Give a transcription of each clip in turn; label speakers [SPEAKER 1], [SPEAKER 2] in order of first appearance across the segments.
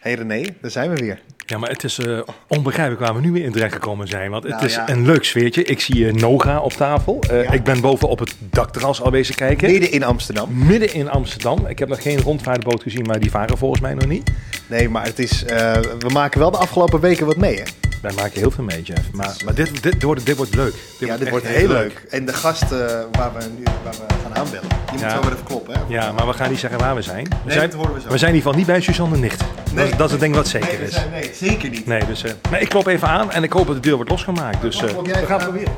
[SPEAKER 1] hey René, daar zijn we weer.
[SPEAKER 2] Ja, maar het is eh, onbegrijpelijk waar we nu weer in terecht gekomen zijn. Want het
[SPEAKER 1] Nou
[SPEAKER 2] is
[SPEAKER 1] ja.
[SPEAKER 2] een leuk sfeertje. Ik zie eh, Noga op tafel. Eh,
[SPEAKER 1] Ja.
[SPEAKER 2] Ik ben boven op het dakterras al bezig kijken.
[SPEAKER 1] Midden in Amsterdam.
[SPEAKER 2] Midden in Amsterdam. Ik heb nog geen rondvaartboot gezien, maar die varen volgens mij nog niet.
[SPEAKER 1] Nee, maar het is, eh, we maken wel de afgelopen weken wat mee, hè?
[SPEAKER 2] Wij maken heel veel mee, Jeff. Maar, maar dit, dit, wordt, dit wordt leuk. Dit
[SPEAKER 1] ja, dit
[SPEAKER 2] echt
[SPEAKER 1] wordt heel leuk. En de gast eh, waar we nu waar we gaan aanbellen, die moet
[SPEAKER 2] Ja.
[SPEAKER 1] zo maar even kloppen, hè?
[SPEAKER 2] Ja, maar we gaan niet zeggen waar we zijn. We,
[SPEAKER 1] Nee,
[SPEAKER 2] zijn,
[SPEAKER 1] dat horen we zo.
[SPEAKER 2] we zijn in ieder geval niet bij Suzanne de Nicht. dat, is- dat is het ding wat zeker
[SPEAKER 1] nee, we
[SPEAKER 2] is.
[SPEAKER 1] zijn- nee, zeker niet.
[SPEAKER 2] Nee, dus, eh, maar ik klop even aan en ik hoop dat de deur wordt losgemaakt. Dus, eh,
[SPEAKER 1] Kom jij gaan proberen.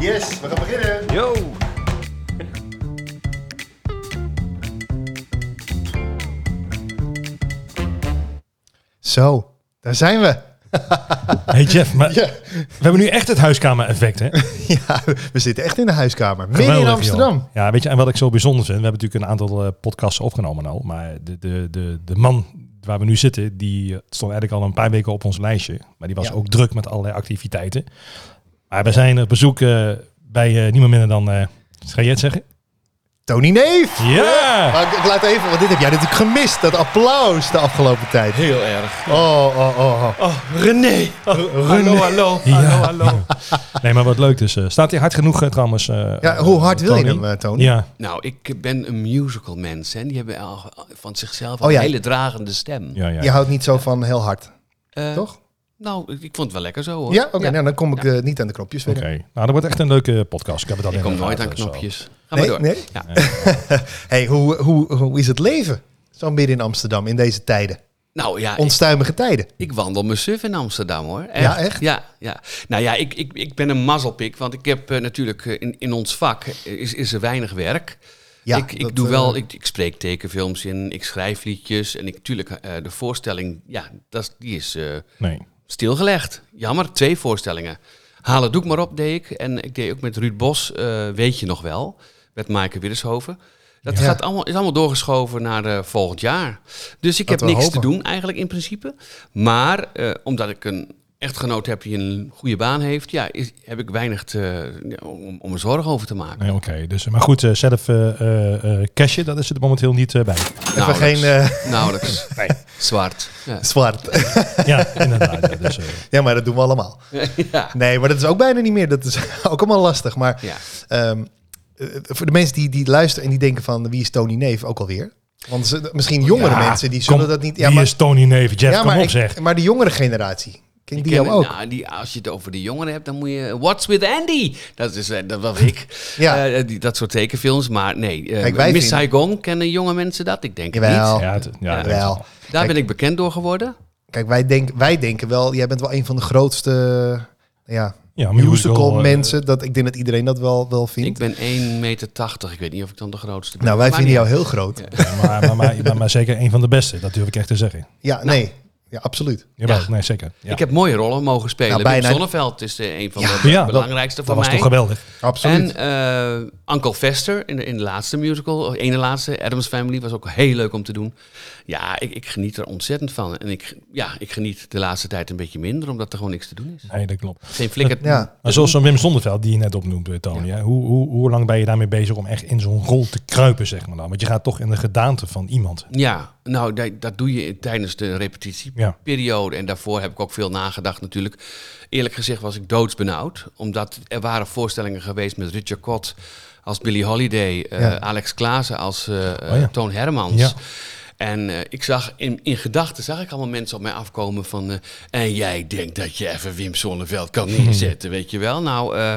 [SPEAKER 1] Yes, we gaan beginnen.
[SPEAKER 2] Yo!
[SPEAKER 1] Zo, daar zijn we.
[SPEAKER 3] Hey Jeff, maar
[SPEAKER 1] Ja.
[SPEAKER 3] we hebben nu echt het huiskamer-effect, hè?
[SPEAKER 1] ja, we zitten echt in de huiskamer. Midden in
[SPEAKER 3] Geweldig,
[SPEAKER 1] Amsterdam.
[SPEAKER 3] joh. Ja, weet je, en wat ik zo bijzonder vind, we hebben natuurlijk een aantal eh, podcasts opgenomen al, maar de, de, de, de man waar we nu zitten, die eh, stond eigenlijk al een paar weken op ons lijstje, maar die was
[SPEAKER 1] Ja.
[SPEAKER 3] ook druk met allerlei activiteiten. Maar we zijn op bezoek eh, bij eh, niemand minder dan, eh ga jij het zeggen?
[SPEAKER 1] Tony Neef.
[SPEAKER 3] Ja!
[SPEAKER 1] Maar ik, ik laat even, want dit heb jij natuurlijk gemist, dat applaus de afgelopen tijd.
[SPEAKER 4] Heel erg.
[SPEAKER 1] Oh, oh, oh, oh.
[SPEAKER 4] Oh, René. Oh, Hallo, hallo.
[SPEAKER 3] Ja.
[SPEAKER 4] Hallo, hallo.
[SPEAKER 3] Nee, maar wat leuk dus. eh, staat hij hard genoeg eh, trouwens? eh,
[SPEAKER 1] Ja, hoe hard wil je
[SPEAKER 3] Tony?
[SPEAKER 1] hem, eh, Tony?
[SPEAKER 3] Ja,
[SPEAKER 4] Nou, ik ben een musical mens. En die hebben al van zichzelf
[SPEAKER 1] Oh,
[SPEAKER 4] een
[SPEAKER 1] ja.
[SPEAKER 4] hele dragende stem.
[SPEAKER 3] ja, ja.
[SPEAKER 1] Je houdt niet zo van heel hard,
[SPEAKER 4] Eh,
[SPEAKER 1] toch?
[SPEAKER 4] Nou, ik ik vond het wel lekker zo hoor.
[SPEAKER 1] Ja? Oké, nou, dan kom ik eh, niet aan de knopjes weer.
[SPEAKER 3] Oké, nou dat wordt echt een leuke podcast. Ik heb het al
[SPEAKER 4] Ik
[SPEAKER 3] in de
[SPEAKER 4] kom nooit aan
[SPEAKER 3] gaten, zo.
[SPEAKER 4] knopjes. Ga maar
[SPEAKER 1] Nee,
[SPEAKER 4] door.
[SPEAKER 1] nee?
[SPEAKER 4] Ja.
[SPEAKER 1] Hey, hoe, hoe, hoe is het leven zo midden in Amsterdam in deze tijden?
[SPEAKER 4] Nou ja, ik,
[SPEAKER 1] Onstuimige tijden.
[SPEAKER 4] ik wandel me suf in Amsterdam hoor.
[SPEAKER 1] Ja, echt?
[SPEAKER 4] Ja, ja. Nou ja, ik, ik, ik ben een mazzelpik. Want ik heb eh, natuurlijk eh, in, in ons vak eh, is, is er weinig werk.
[SPEAKER 1] Ja,
[SPEAKER 4] ik, ik
[SPEAKER 1] dat,
[SPEAKER 4] doe
[SPEAKER 1] eh,
[SPEAKER 4] wel, ik, ik spreek tekenfilms in, ik schrijf liedjes. En ik, tuurlijk, eh, de voorstelling, ja, dat, is- die is... eh,
[SPEAKER 3] Nee.
[SPEAKER 4] stilgelegd. Jammer, twee voorstellingen. Haal het doek maar op, deed ik. En ik deed ook met Ruud Bos, eh, weet je nog wel, met Maaike Widdershoven. Dat
[SPEAKER 1] Ja.
[SPEAKER 4] gaat allemaal, is allemaal doorgeschoven naar eh, volgend jaar. Dus ik
[SPEAKER 1] Laten
[SPEAKER 4] heb
[SPEAKER 1] we
[SPEAKER 4] niks
[SPEAKER 1] hopen.
[SPEAKER 4] te doen eigenlijk in principe. Maar eh, omdat ik een echtgenoot heb die een goede baan heeft, ja, is- heb ik weinig te- ja, om, om me zorgen over te maken.
[SPEAKER 3] Nee, oké. Dus, maar goed, eh, zelf eh eh, eh, cashje, dat is er momenteel niet eh, bij.
[SPEAKER 1] Even geen eh,
[SPEAKER 4] Nauwelijks. Zwart. Ja.
[SPEAKER 1] zwart.
[SPEAKER 3] Ja, inderdaad. ja, dus, eh,
[SPEAKER 1] ja, maar dat doen we allemaal.
[SPEAKER 4] ja.
[SPEAKER 1] Nee, maar dat is ook bijna niet meer. Dat is ook allemaal lastig. Maar
[SPEAKER 4] ja.
[SPEAKER 1] ehm, eh, voor de mensen die, die luisteren en die denken van wie is Tony Neef ook alweer? Want ze- misschien jongere
[SPEAKER 3] ja,
[SPEAKER 1] mensen die zullen
[SPEAKER 3] kom,
[SPEAKER 1] dat niet... Ja,
[SPEAKER 3] wie
[SPEAKER 1] maar,
[SPEAKER 3] is Tony Neef? Jeff,
[SPEAKER 1] ja,
[SPEAKER 3] kom
[SPEAKER 1] maar,
[SPEAKER 3] op
[SPEAKER 1] ik-
[SPEAKER 3] zeg.
[SPEAKER 1] maar de jongere generatie, ken die jou
[SPEAKER 4] kennen-
[SPEAKER 1] ook?
[SPEAKER 4] nou, die, als je het over de jongeren hebt, dan moet je... What's with Andy? Dat is eh, dat was ik.
[SPEAKER 1] Ja.
[SPEAKER 4] Eh, die, dat soort tekenfilms. Maar nee, eh,
[SPEAKER 1] Kijk, wij
[SPEAKER 4] Miss
[SPEAKER 1] vinden-
[SPEAKER 4] Saigon kennen jonge mensen dat? Ik denk het
[SPEAKER 1] Jawel.
[SPEAKER 4] niet.
[SPEAKER 3] Ja, het- ja, dat-
[SPEAKER 1] Wel.
[SPEAKER 4] Daar
[SPEAKER 1] Kijk.
[SPEAKER 4] ben ik bekend door geworden.
[SPEAKER 1] Kijk, wij, denk, wij denken wel, jij bent wel een van de grootste ja,
[SPEAKER 3] ja,
[SPEAKER 1] musical,
[SPEAKER 3] eh,
[SPEAKER 1] mensen. Dat, ik denk dat iedereen dat wel, wel vindt.
[SPEAKER 4] Ik ben 1,80 meter. Ik weet niet of ik dan de grootste ben.
[SPEAKER 1] Nou, wij
[SPEAKER 4] Maar
[SPEAKER 1] vinden jou
[SPEAKER 4] niet.
[SPEAKER 1] heel groot. Ja,
[SPEAKER 3] Maar, maar, maar, maar, maar zeker een van de beste, dat durf ik echt te zeggen.
[SPEAKER 4] Nou.
[SPEAKER 1] nee. Ja, absoluut.
[SPEAKER 3] Jawel,
[SPEAKER 4] Ja.
[SPEAKER 3] nee, zeker. Ja.
[SPEAKER 4] Ik heb mooie rollen mogen spelen.
[SPEAKER 1] Nou,
[SPEAKER 4] Wim
[SPEAKER 1] bijna.
[SPEAKER 4] Sonneveld is eh, een van
[SPEAKER 1] Ja.
[SPEAKER 4] de
[SPEAKER 3] Ja, dat-
[SPEAKER 4] belangrijkste
[SPEAKER 3] dat
[SPEAKER 4] voor
[SPEAKER 3] was
[SPEAKER 4] mij.
[SPEAKER 3] toch geweldig?
[SPEAKER 1] Absoluut.
[SPEAKER 4] En eh Uncle Fester in de, in de laatste musical, of ene laatste, Adams Family, was ook heel leuk om te doen. Ja, ik, ik geniet er ontzettend van. En ik, ja, ik geniet de laatste tijd een beetje minder, omdat er gewoon niks te doen is.
[SPEAKER 3] Nee, dat klopt.
[SPEAKER 4] Geen flikker.
[SPEAKER 1] Ja.
[SPEAKER 3] Maar zoals zo'n Wim Zonneveld, die je net opnoemt, eh, Tony. hè, Hoe, hoe, hoe lang ben je daarmee bezig om echt in zo'n rol te kruipen, zeg maar dan? Want je gaat toch in de gedaante van iemand.
[SPEAKER 4] Ja, nou, dat, dat doe je tijdens de repetitieperiode. En daarvoor heb ik ook veel nagedacht natuurlijk. Eerlijk gezegd was ik doodsbenauwd. Omdat er waren voorstellingen geweest met Richard Cott als Billy Holiday. eh,
[SPEAKER 1] Ja.
[SPEAKER 4] Alex Klaassen als eh, eh,
[SPEAKER 3] Oh, ja.
[SPEAKER 4] Toon Hermans.
[SPEAKER 3] Ja.
[SPEAKER 4] En eh, ik zag in, in gedachten zag ik allemaal mensen op mij afkomen van... eh, en jij denkt dat je even Wim Sonneveld kan neerzetten, weet je wel. Nou, eh,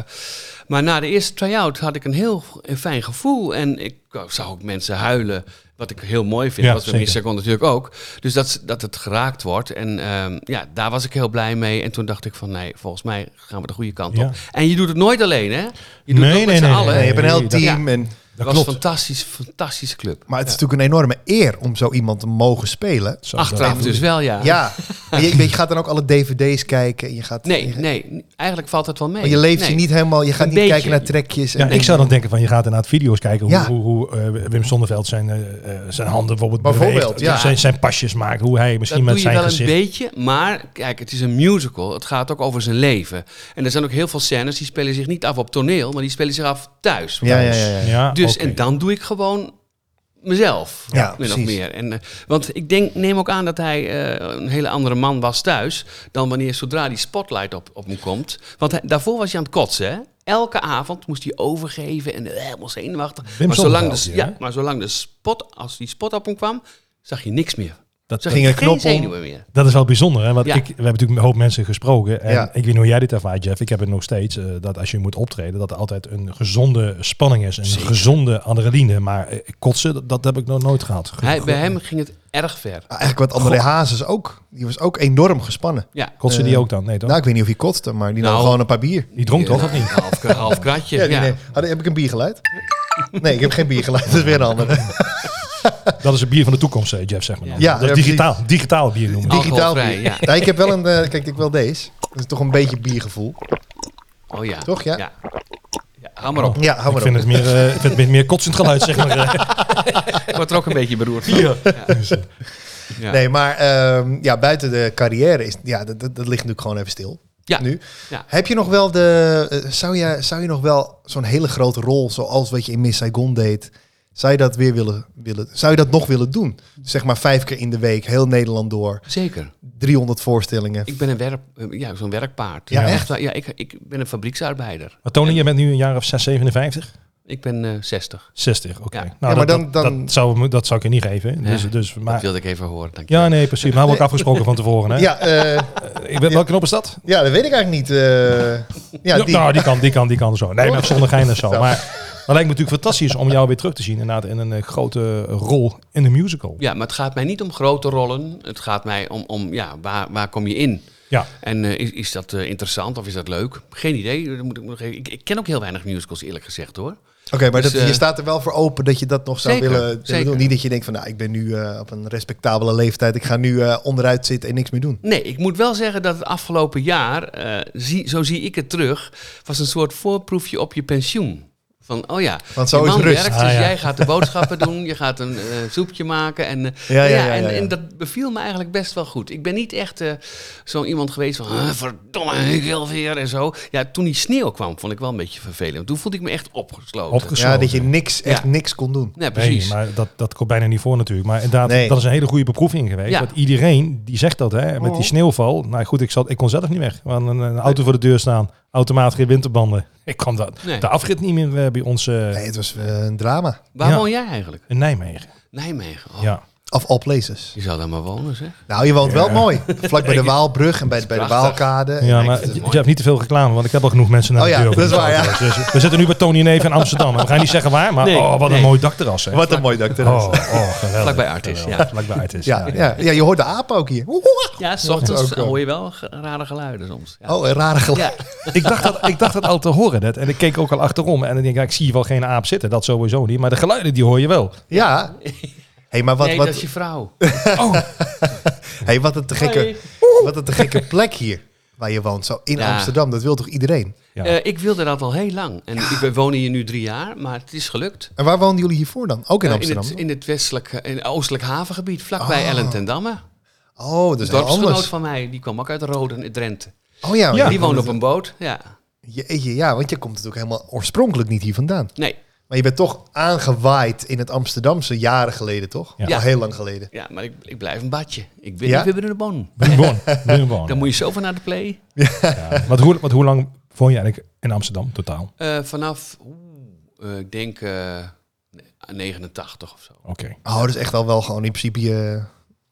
[SPEAKER 4] maar na de eerste try-out had ik een heel fijn gevoel. En ik zag ook mensen huilen, wat ik heel mooi vind.
[SPEAKER 3] Ja,
[SPEAKER 4] wat we
[SPEAKER 3] zeker.
[SPEAKER 4] in Second natuurlijk ook. Dus dat, dat het geraakt wordt. En ehm, ja, daar was ik heel blij mee. En toen dacht ik van, nee, volgens mij gaan we de goede kant
[SPEAKER 3] Ja.
[SPEAKER 4] op. En je doet het nooit alleen, hè? Je doet
[SPEAKER 3] Nee,
[SPEAKER 4] het
[SPEAKER 3] nee,
[SPEAKER 4] ook met z'n
[SPEAKER 3] nee,
[SPEAKER 4] allen.
[SPEAKER 1] Nee, je hebt een heel
[SPEAKER 3] dat-
[SPEAKER 1] team. En,
[SPEAKER 4] Het
[SPEAKER 3] Dat
[SPEAKER 4] was een
[SPEAKER 3] klopt.
[SPEAKER 4] fantastisch, fantastische club.
[SPEAKER 1] maar het is natuurlijk een enorme eer om zo iemand te mogen spelen.
[SPEAKER 3] Zo,
[SPEAKER 4] Achteraf
[SPEAKER 3] dat-
[SPEAKER 4] dus wel, ja.
[SPEAKER 1] Ja. En je, je gaat dan ook alle dvd's kijken. En je gaat,
[SPEAKER 4] Nee,
[SPEAKER 1] je,
[SPEAKER 4] nee, eigenlijk valt het wel mee.
[SPEAKER 1] Maar Oh, je leeft
[SPEAKER 4] Nee.
[SPEAKER 1] je niet helemaal. Je gaat
[SPEAKER 4] Een
[SPEAKER 1] niet
[SPEAKER 4] beetje.
[SPEAKER 1] kijken naar trekjes. En
[SPEAKER 3] Ja, ik zou dan denken van je gaat inderdaad video's kijken hoe,
[SPEAKER 1] Ja.
[SPEAKER 3] hoe, hoe eh, Wim Sonneveld zijn, eh, eh, zijn handen bijvoorbeeld,
[SPEAKER 1] Bijvoorbeeld,
[SPEAKER 3] beweegt, Dus
[SPEAKER 1] ja.
[SPEAKER 3] zijn, zijn pasjes maakt, hoe hij misschien
[SPEAKER 4] Dat
[SPEAKER 3] met
[SPEAKER 4] doe je
[SPEAKER 3] zijn
[SPEAKER 4] wel
[SPEAKER 3] gezicht.
[SPEAKER 4] een beetje, maar kijk, het is een musical. Het gaat ook over zijn leven. En er zijn ook heel veel scènes die spelen zich niet af op toneel, maar die spelen zich af thuis.
[SPEAKER 1] Ja, ja, ja. ja.
[SPEAKER 3] Ja,
[SPEAKER 4] Dus
[SPEAKER 3] Ah, oké.
[SPEAKER 4] en dan doe ik gewoon mezelf.
[SPEAKER 1] Ja,
[SPEAKER 4] min of
[SPEAKER 1] precies.
[SPEAKER 4] meer. En, eh, want ik denk, neem ook aan dat hij eh, een hele andere man was thuis. dan wanneer zodra die spotlight op, op hem komt. Want hij- daarvoor was hij aan het kotsen. Hè? Elke avond moest hij overgeven en eh, helemaal zenuwachtig.
[SPEAKER 3] Wim
[SPEAKER 4] maar, zolang de,
[SPEAKER 3] Sonneveld hier,
[SPEAKER 4] ja,
[SPEAKER 3] hè?
[SPEAKER 4] maar zolang de spot, als die spot op hem kwam, zag je niks meer.
[SPEAKER 3] Dat-
[SPEAKER 4] zag
[SPEAKER 1] ging
[SPEAKER 4] je
[SPEAKER 1] een knop om.
[SPEAKER 4] geen zenuwen meer.
[SPEAKER 3] Dat is wel bijzonder, hè? Want
[SPEAKER 4] Ja.
[SPEAKER 3] ik, we hebben natuurlijk een hoop mensen gesproken. En
[SPEAKER 1] Ja.
[SPEAKER 3] ik weet niet hoe jij dit ervaart, Jeff. Ik heb het nog steeds, eh, dat als je moet optreden, dat er altijd een gezonde spanning is. Een gezonde adrenaline. Maar eh, kotsen, dat, dat heb ik nog nooit gehad. Ge-
[SPEAKER 4] Hij,
[SPEAKER 3] ge-
[SPEAKER 4] bij hem ging het erg ver.
[SPEAKER 1] Ah, Eigenlijk wat André Hazes ook. Die was ook enorm gespannen.
[SPEAKER 4] Ja.
[SPEAKER 3] Kotsen die
[SPEAKER 1] eh,
[SPEAKER 3] ook dan? Nee, toch?
[SPEAKER 1] Nou, ik weet niet of hij kotste, maar die nam
[SPEAKER 4] Nou.
[SPEAKER 1] gewoon een paar bier.
[SPEAKER 3] die dronk toch, of
[SPEAKER 4] Eh,
[SPEAKER 3] niet?
[SPEAKER 4] Half, half kratje.
[SPEAKER 1] Ja,
[SPEAKER 4] Ja,
[SPEAKER 1] die neemt- Had- heb ik een biergeluid? Nee, ik heb geen biergeluid. Dat is weer een andere.
[SPEAKER 3] Dat is het bier van de toekomst, eh, Jeff, zeg maar. dan.
[SPEAKER 1] Ja,
[SPEAKER 3] dat is
[SPEAKER 1] ja,
[SPEAKER 3] digitaal, digitaal bier noemen.
[SPEAKER 4] Die-
[SPEAKER 1] Digitaal bier.
[SPEAKER 4] Alcoholvrij, ja.
[SPEAKER 1] Nee, ik heb wel een... eh, kijk, ik wil deze. Dat is toch een beetje biergevoel.
[SPEAKER 4] Oh ja.
[SPEAKER 1] Toch, ja?
[SPEAKER 4] Ja, Ja, hou maar op.
[SPEAKER 1] Ja, hou
[SPEAKER 3] ik
[SPEAKER 1] maar
[SPEAKER 3] vind
[SPEAKER 1] op.
[SPEAKER 3] het meer, eh, ik vind het meer kotsend geluid, zeg maar. eh.
[SPEAKER 1] Oh.
[SPEAKER 4] Ik word er ook een beetje beroerd van.
[SPEAKER 3] Dus, eh,
[SPEAKER 4] Ja.
[SPEAKER 1] Nee, maar ehm, ja, buiten de carrière is... Ja, dat, dat, dat ligt natuurlijk gewoon even stil.
[SPEAKER 4] Ja.
[SPEAKER 1] Nu.
[SPEAKER 4] Ja.
[SPEAKER 1] Heb je nog wel de... eh, zou, je, zou je nog wel zo'n hele grote rol, zoals wat je in Miss Saigon deed... Zou je dat weer willen, willen... Zou je dat nog willen doen? Zeg maar vijf keer in de week, heel Nederland door.
[SPEAKER 4] Zeker.
[SPEAKER 1] 300 voorstellingen.
[SPEAKER 4] Ik ben een werp, eh, ja, zo'n werkpaard.
[SPEAKER 1] Ja,
[SPEAKER 4] Ik-
[SPEAKER 1] echt?
[SPEAKER 4] Ja, ik, ik ben een fabrieksarbeider.
[SPEAKER 3] Maar Tony, je bent nu een jaar of 6, 57?
[SPEAKER 4] Ik ben eh 60.
[SPEAKER 3] 60, oké.
[SPEAKER 4] Ja.
[SPEAKER 3] Nou,
[SPEAKER 1] Ja, maar
[SPEAKER 3] dat-
[SPEAKER 1] dan-
[SPEAKER 3] dat,
[SPEAKER 1] dan-
[SPEAKER 3] dat, zou, me- dat zou ik je niet geven.
[SPEAKER 4] Nee.
[SPEAKER 3] Dus, dus,
[SPEAKER 4] Dat
[SPEAKER 3] maar,
[SPEAKER 4] wilde ik even horen. Dank je.
[SPEAKER 3] ja, nee, precies. Maar we hebben ook afgesproken van tevoren. Hè?
[SPEAKER 1] Ja, eh,
[SPEAKER 3] Ik ben, welke knop is dat?
[SPEAKER 1] ja, dat weet ik eigenlijk niet. eh. ja,
[SPEAKER 3] Ja,
[SPEAKER 1] die,
[SPEAKER 3] Nou, die kan, die kan, die kan zo. Nee,
[SPEAKER 1] Oh.
[SPEAKER 3] maar zonder gein en zo.
[SPEAKER 1] Zo.
[SPEAKER 3] Maar dat lijkt me natuurlijk fantastisch om jou weer terug te zien. Inderdaad, in een eh, grote rol in de musical.
[SPEAKER 4] Ja, maar het gaat mij niet om grote rollen. Het gaat mij om, om ja, waar, waar kom je in?
[SPEAKER 3] Ja.
[SPEAKER 4] En eh, is, is dat eh, interessant of is dat leuk? Geen idee. Dat moet ik, nog even- ik, ik ken ook heel weinig musicals, eerlijk gezegd hoor.
[SPEAKER 1] Oké, maar
[SPEAKER 4] Dus,
[SPEAKER 1] dat,
[SPEAKER 4] eh,
[SPEAKER 1] je staat er wel voor open dat je dat nog zou
[SPEAKER 4] Zeker,
[SPEAKER 1] willen, willen
[SPEAKER 4] zeker.
[SPEAKER 1] doen. Niet dat je denkt van, nou, ik ben nu eh, op een respectabele leeftijd. Ik ga nu eh, onderuit zitten en niks meer doen.
[SPEAKER 4] Nee, ik moet wel zeggen dat het afgelopen jaar, eh, zie, zo zie ik het terug, was een soort voorproefje op je pensioen. Van, oh ja,
[SPEAKER 1] Want zo
[SPEAKER 4] je
[SPEAKER 1] is
[SPEAKER 4] man
[SPEAKER 1] rust.
[SPEAKER 4] werkt,
[SPEAKER 3] Ah,
[SPEAKER 4] dus
[SPEAKER 3] ja.
[SPEAKER 4] jij gaat de boodschappen doen, je gaat een eh, soepje maken. En, eh,
[SPEAKER 1] Ja, ja, ja,
[SPEAKER 4] en,
[SPEAKER 1] ja, ja.
[SPEAKER 4] en dat beviel me eigenlijk best wel goed. Ik ben niet echt eh, zo iemand geweest van, "Huh, verdomme, ik wil weer en zo. Ja, toen die sneeuw kwam, vond ik wel een beetje vervelend. Toen voelde ik me echt opgesloten.
[SPEAKER 3] Opgesloten.
[SPEAKER 1] Ja, dat je niks, echt
[SPEAKER 4] Ja.
[SPEAKER 1] niks kon doen.
[SPEAKER 4] nee, precies.
[SPEAKER 3] Nee, maar dat, dat komt bijna niet voor natuurlijk. Maar inderdaad,
[SPEAKER 1] Nee.
[SPEAKER 3] dat is een hele goede beproeving geweest.
[SPEAKER 4] Ja. Oh.
[SPEAKER 3] Want iedereen die zegt dat, hè, met die sneeuwval. Nou goed, ik, zat, ik kon zelf niet weg. We hadden een, een auto voor de deur staan, automaat, geen winterbanden. Ik kwam dat,
[SPEAKER 4] Nee.
[SPEAKER 3] de afrit niet meer eh, bij ons eh,
[SPEAKER 1] Nee, het was eh, een drama.
[SPEAKER 4] Waar
[SPEAKER 3] Ja.
[SPEAKER 4] woon jij eigenlijk?
[SPEAKER 3] in Nijmegen.
[SPEAKER 4] Nijmegen. Oh,
[SPEAKER 3] Ja.
[SPEAKER 1] Of all places.
[SPEAKER 4] Je zou daar maar wonen, zeg.
[SPEAKER 1] Nou, je woont wel mooi. Vlak bij de Waalbrug en bij, bij de
[SPEAKER 4] prachtig.
[SPEAKER 1] Waalkade.
[SPEAKER 3] Ja,
[SPEAKER 1] En-
[SPEAKER 3] maar
[SPEAKER 1] het
[SPEAKER 3] je je hebt niet te veel reclame, want ik heb al genoeg mensen naar
[SPEAKER 1] Oh
[SPEAKER 3] de
[SPEAKER 1] ja,
[SPEAKER 3] deur.
[SPEAKER 1] dat is waar, ja.
[SPEAKER 3] Dus we zitten nu bij Tony Neef in Amsterdam. En we gaan niet zeggen waar, maar
[SPEAKER 4] Nee,
[SPEAKER 3] oh, wat
[SPEAKER 4] nee.
[SPEAKER 3] een mooi dakterras. Hè.
[SPEAKER 1] Wat een mooi dak
[SPEAKER 3] Oh,
[SPEAKER 1] terras.
[SPEAKER 3] oh, geweldig.
[SPEAKER 4] Vlakbij Artis,
[SPEAKER 3] Geweldig.
[SPEAKER 4] ja.
[SPEAKER 3] Vlakbij Artis.
[SPEAKER 1] Ja, ja, ja, je hoort de apen ook hier.
[SPEAKER 4] Ja, s ochtends
[SPEAKER 1] ook, eh,
[SPEAKER 4] hoor je wel ge- rare geluiden soms. Ja.
[SPEAKER 1] Oh, een rare geluid.
[SPEAKER 4] Ja.
[SPEAKER 3] Ik, dacht dat, ik dacht dat al te horen net. En ik keek ook al achterom. En ik denk, ja, ik zie hier wel geen aap zitten. Dat sowieso niet. Maar de geluiden die hoor je wel.
[SPEAKER 1] Ja. hey, maar wat,
[SPEAKER 4] nee,
[SPEAKER 1] wat,
[SPEAKER 4] dat is je vrouw.
[SPEAKER 3] Oh,
[SPEAKER 1] hey, wat, een te gekke, wat een te gekke plek hier waar je woont. Zo in
[SPEAKER 4] Ja.
[SPEAKER 1] Amsterdam, dat wil toch iedereen?
[SPEAKER 3] Ja.
[SPEAKER 4] Eh, ik wilde dat al heel lang. En ik ben- woon hier nu drie jaar, maar het is gelukt.
[SPEAKER 1] En waar woonden jullie hiervoor dan? Ook in
[SPEAKER 4] Eh,
[SPEAKER 1] Amsterdam?
[SPEAKER 4] het, in het westelijk, eh, in het oostelijk havengebied, vlakbij
[SPEAKER 1] Oh.
[SPEAKER 4] Ellen ten Damme.
[SPEAKER 1] Oh, dat is
[SPEAKER 4] Een
[SPEAKER 1] heel
[SPEAKER 4] dorpsgenoot
[SPEAKER 1] anders.
[SPEAKER 4] van mij, die kwam ook uit Roden in Drenthe.
[SPEAKER 1] Oh ja,
[SPEAKER 3] Ja.
[SPEAKER 1] ja.
[SPEAKER 4] die woonde op een boot, ja.
[SPEAKER 1] Jeetje, ja, want je komt natuurlijk helemaal oorspronkelijk niet hier vandaan.
[SPEAKER 4] Nee,
[SPEAKER 1] Maar je bent toch aangewaaid in het Amsterdamse jaren geleden, toch?
[SPEAKER 3] Ja.
[SPEAKER 1] Al heel lang geleden.
[SPEAKER 4] ja, maar ik, ik blijf een badje. Ik ben
[SPEAKER 1] Ja? Oh,
[SPEAKER 4] niet weer binnen de bon.
[SPEAKER 3] Binnenborn. Binnenborn.
[SPEAKER 4] Dan moet je zoveel naar de play.
[SPEAKER 3] Ja. Want hoe, want hoe lang woon je eigenlijk in Amsterdam totaal?
[SPEAKER 4] Eh, vanaf, oeh, eh, ik denk, eh, 89 of zo.
[SPEAKER 3] Oké.
[SPEAKER 1] Oh, dat is echt al wel gewoon in principe je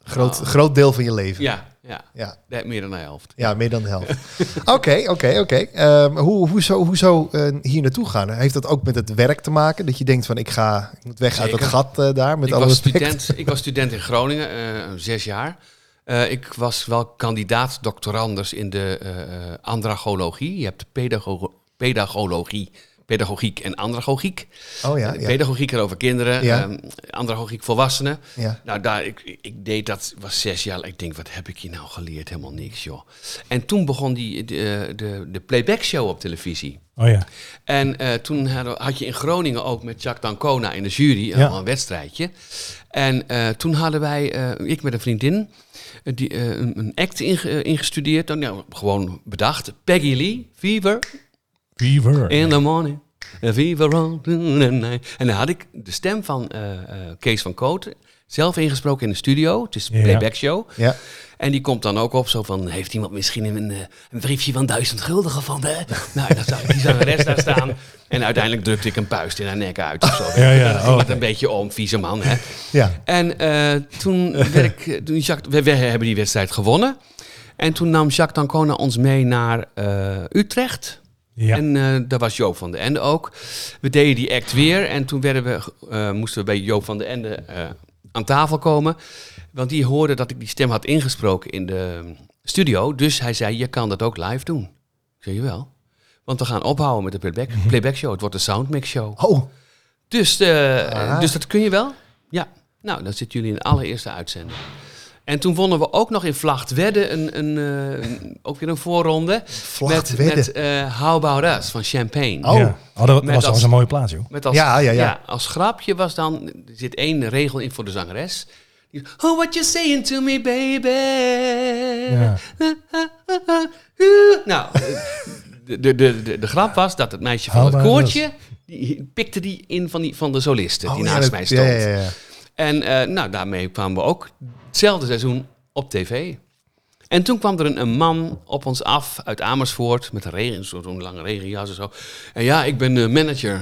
[SPEAKER 1] groot,
[SPEAKER 4] Ah.
[SPEAKER 1] groot deel van je leven.
[SPEAKER 4] Ja, ja.
[SPEAKER 1] Ja,
[SPEAKER 4] Nee, meer dan de helft.
[SPEAKER 1] ja, meer dan de helft. Oké, oké, oké. Ehm, hoe Hoezo, hoezo eh, hier naartoe gaan? Heeft dat ook met het werk te maken? Dat je denkt van ik ga, ik moet weg uit dat
[SPEAKER 4] Zeker.
[SPEAKER 1] gat eh, daar met
[SPEAKER 4] ik
[SPEAKER 1] alle
[SPEAKER 4] was
[SPEAKER 1] respect.
[SPEAKER 4] student, Ik was student in Groningen, eh, zes jaar. Eh, ik was wel kandidaat doctoranders in de eh, eh, andragologie. Je hebt pedago- pedagologie, pedagogiek en andragogiek.
[SPEAKER 1] Oh ja,
[SPEAKER 4] Eh,
[SPEAKER 1] ja,
[SPEAKER 4] Pedagogiek gaat over kinderen,
[SPEAKER 1] Ja.
[SPEAKER 4] ehm, andragogiek volwassenen.
[SPEAKER 1] ja.
[SPEAKER 4] Nou, daar, ik, ik deed dat, was zes jaar. Ik denk, wat heb ik hier nou geleerd? Helemaal niks, joh. En toen begon die, de, de, de playback show op televisie.
[SPEAKER 3] Oh ja.
[SPEAKER 4] En eh, toen hadden- had je in Groningen ook met Jacques Dancona in de jury eh,
[SPEAKER 3] Ja.
[SPEAKER 4] een wedstrijdje. En eh, toen hadden wij, eh, ik met een vriendin, eh, die, eh, een een act inge- eh, ingestudeerd. Dan, nou, gewoon bedacht. Peggy Lee, Fever
[SPEAKER 3] Fever.
[SPEAKER 4] in the morning. Eh, Viva Rotten and I. En dan had ik de stem van eh, eh, Kees van Kooten zelf ingesproken in de studio. Het is een
[SPEAKER 3] Ja.
[SPEAKER 4] playback show.
[SPEAKER 1] Ja.
[SPEAKER 4] En die komt dan ook op zo van, heeft iemand misschien een, eh, een briefje van duizend gulden gevonden? nou, en dan zag ik die zangeres daar staan. En uiteindelijk drukte ik een puist in haar nek uit of zo.
[SPEAKER 3] Ja, ja,
[SPEAKER 4] Dat ging
[SPEAKER 3] oh,
[SPEAKER 4] het
[SPEAKER 3] oké.
[SPEAKER 4] een beetje om, vieze man. Hè?
[SPEAKER 1] Ja.
[SPEAKER 4] En eh, toen werd ik, eh, toen Jacques, we, we hebben die wedstrijd gewonnen. En toen nam Jacques Dancona ons mee naar eh, Utrecht.
[SPEAKER 3] Ja.
[SPEAKER 4] En eh, daar was Joop van den Ende ook. We deden die act weer en toen werden we, eh, moesten we bij Joop van den Ende eh, aan tafel komen. Want die hoorde dat ik die stem had ingesproken in de mm, studio. Dus hij zei, je kan dat ook live doen. Ik zei, jawel. Want we gaan ophouden met de playback, playback show. Het wordt een soundmix show.
[SPEAKER 1] Oh,
[SPEAKER 4] Dus, eh,
[SPEAKER 1] Ah.
[SPEAKER 4] dus dat kun je wel? Ja. Nou, dan zitten jullie in de allereerste uitzending. En toen wonnen we ook nog in Vlachtwedde een, een, eh, een- ook weer een voorronde.
[SPEAKER 1] vlacht
[SPEAKER 4] Met,
[SPEAKER 1] wedden.
[SPEAKER 4] met eh, How About Us van Champagne.
[SPEAKER 1] Oh.
[SPEAKER 3] Ja. Oh, dat was- dat
[SPEAKER 4] Met
[SPEAKER 3] was
[SPEAKER 4] als-
[SPEAKER 3] trouwens een mooie plaats, joh.
[SPEAKER 4] Met als,
[SPEAKER 1] Ja, ja, ja.
[SPEAKER 4] Als grapje was dan, er zit één regel in voor de zangeres. Die- Oh, what you saying to me, baby?
[SPEAKER 3] Ja.
[SPEAKER 4] Nou, de, de, de, de, de grap was dat het meisje van
[SPEAKER 3] How
[SPEAKER 4] het
[SPEAKER 3] about us?
[SPEAKER 4] koortje... Die pikte die in van, die, van de solisten die
[SPEAKER 1] Oh, ja,
[SPEAKER 4] naast
[SPEAKER 1] dat-
[SPEAKER 4] mij stond.
[SPEAKER 1] Ja, ja, ja.
[SPEAKER 4] En eh, nou, daarmee kwamen we ook hetzelfde seizoen op tv. En toen kwam er een, een man op ons af uit Amersfoort met een regen, zo- zo'n lange regenjas en zo. En ja, ik ben eh, manager.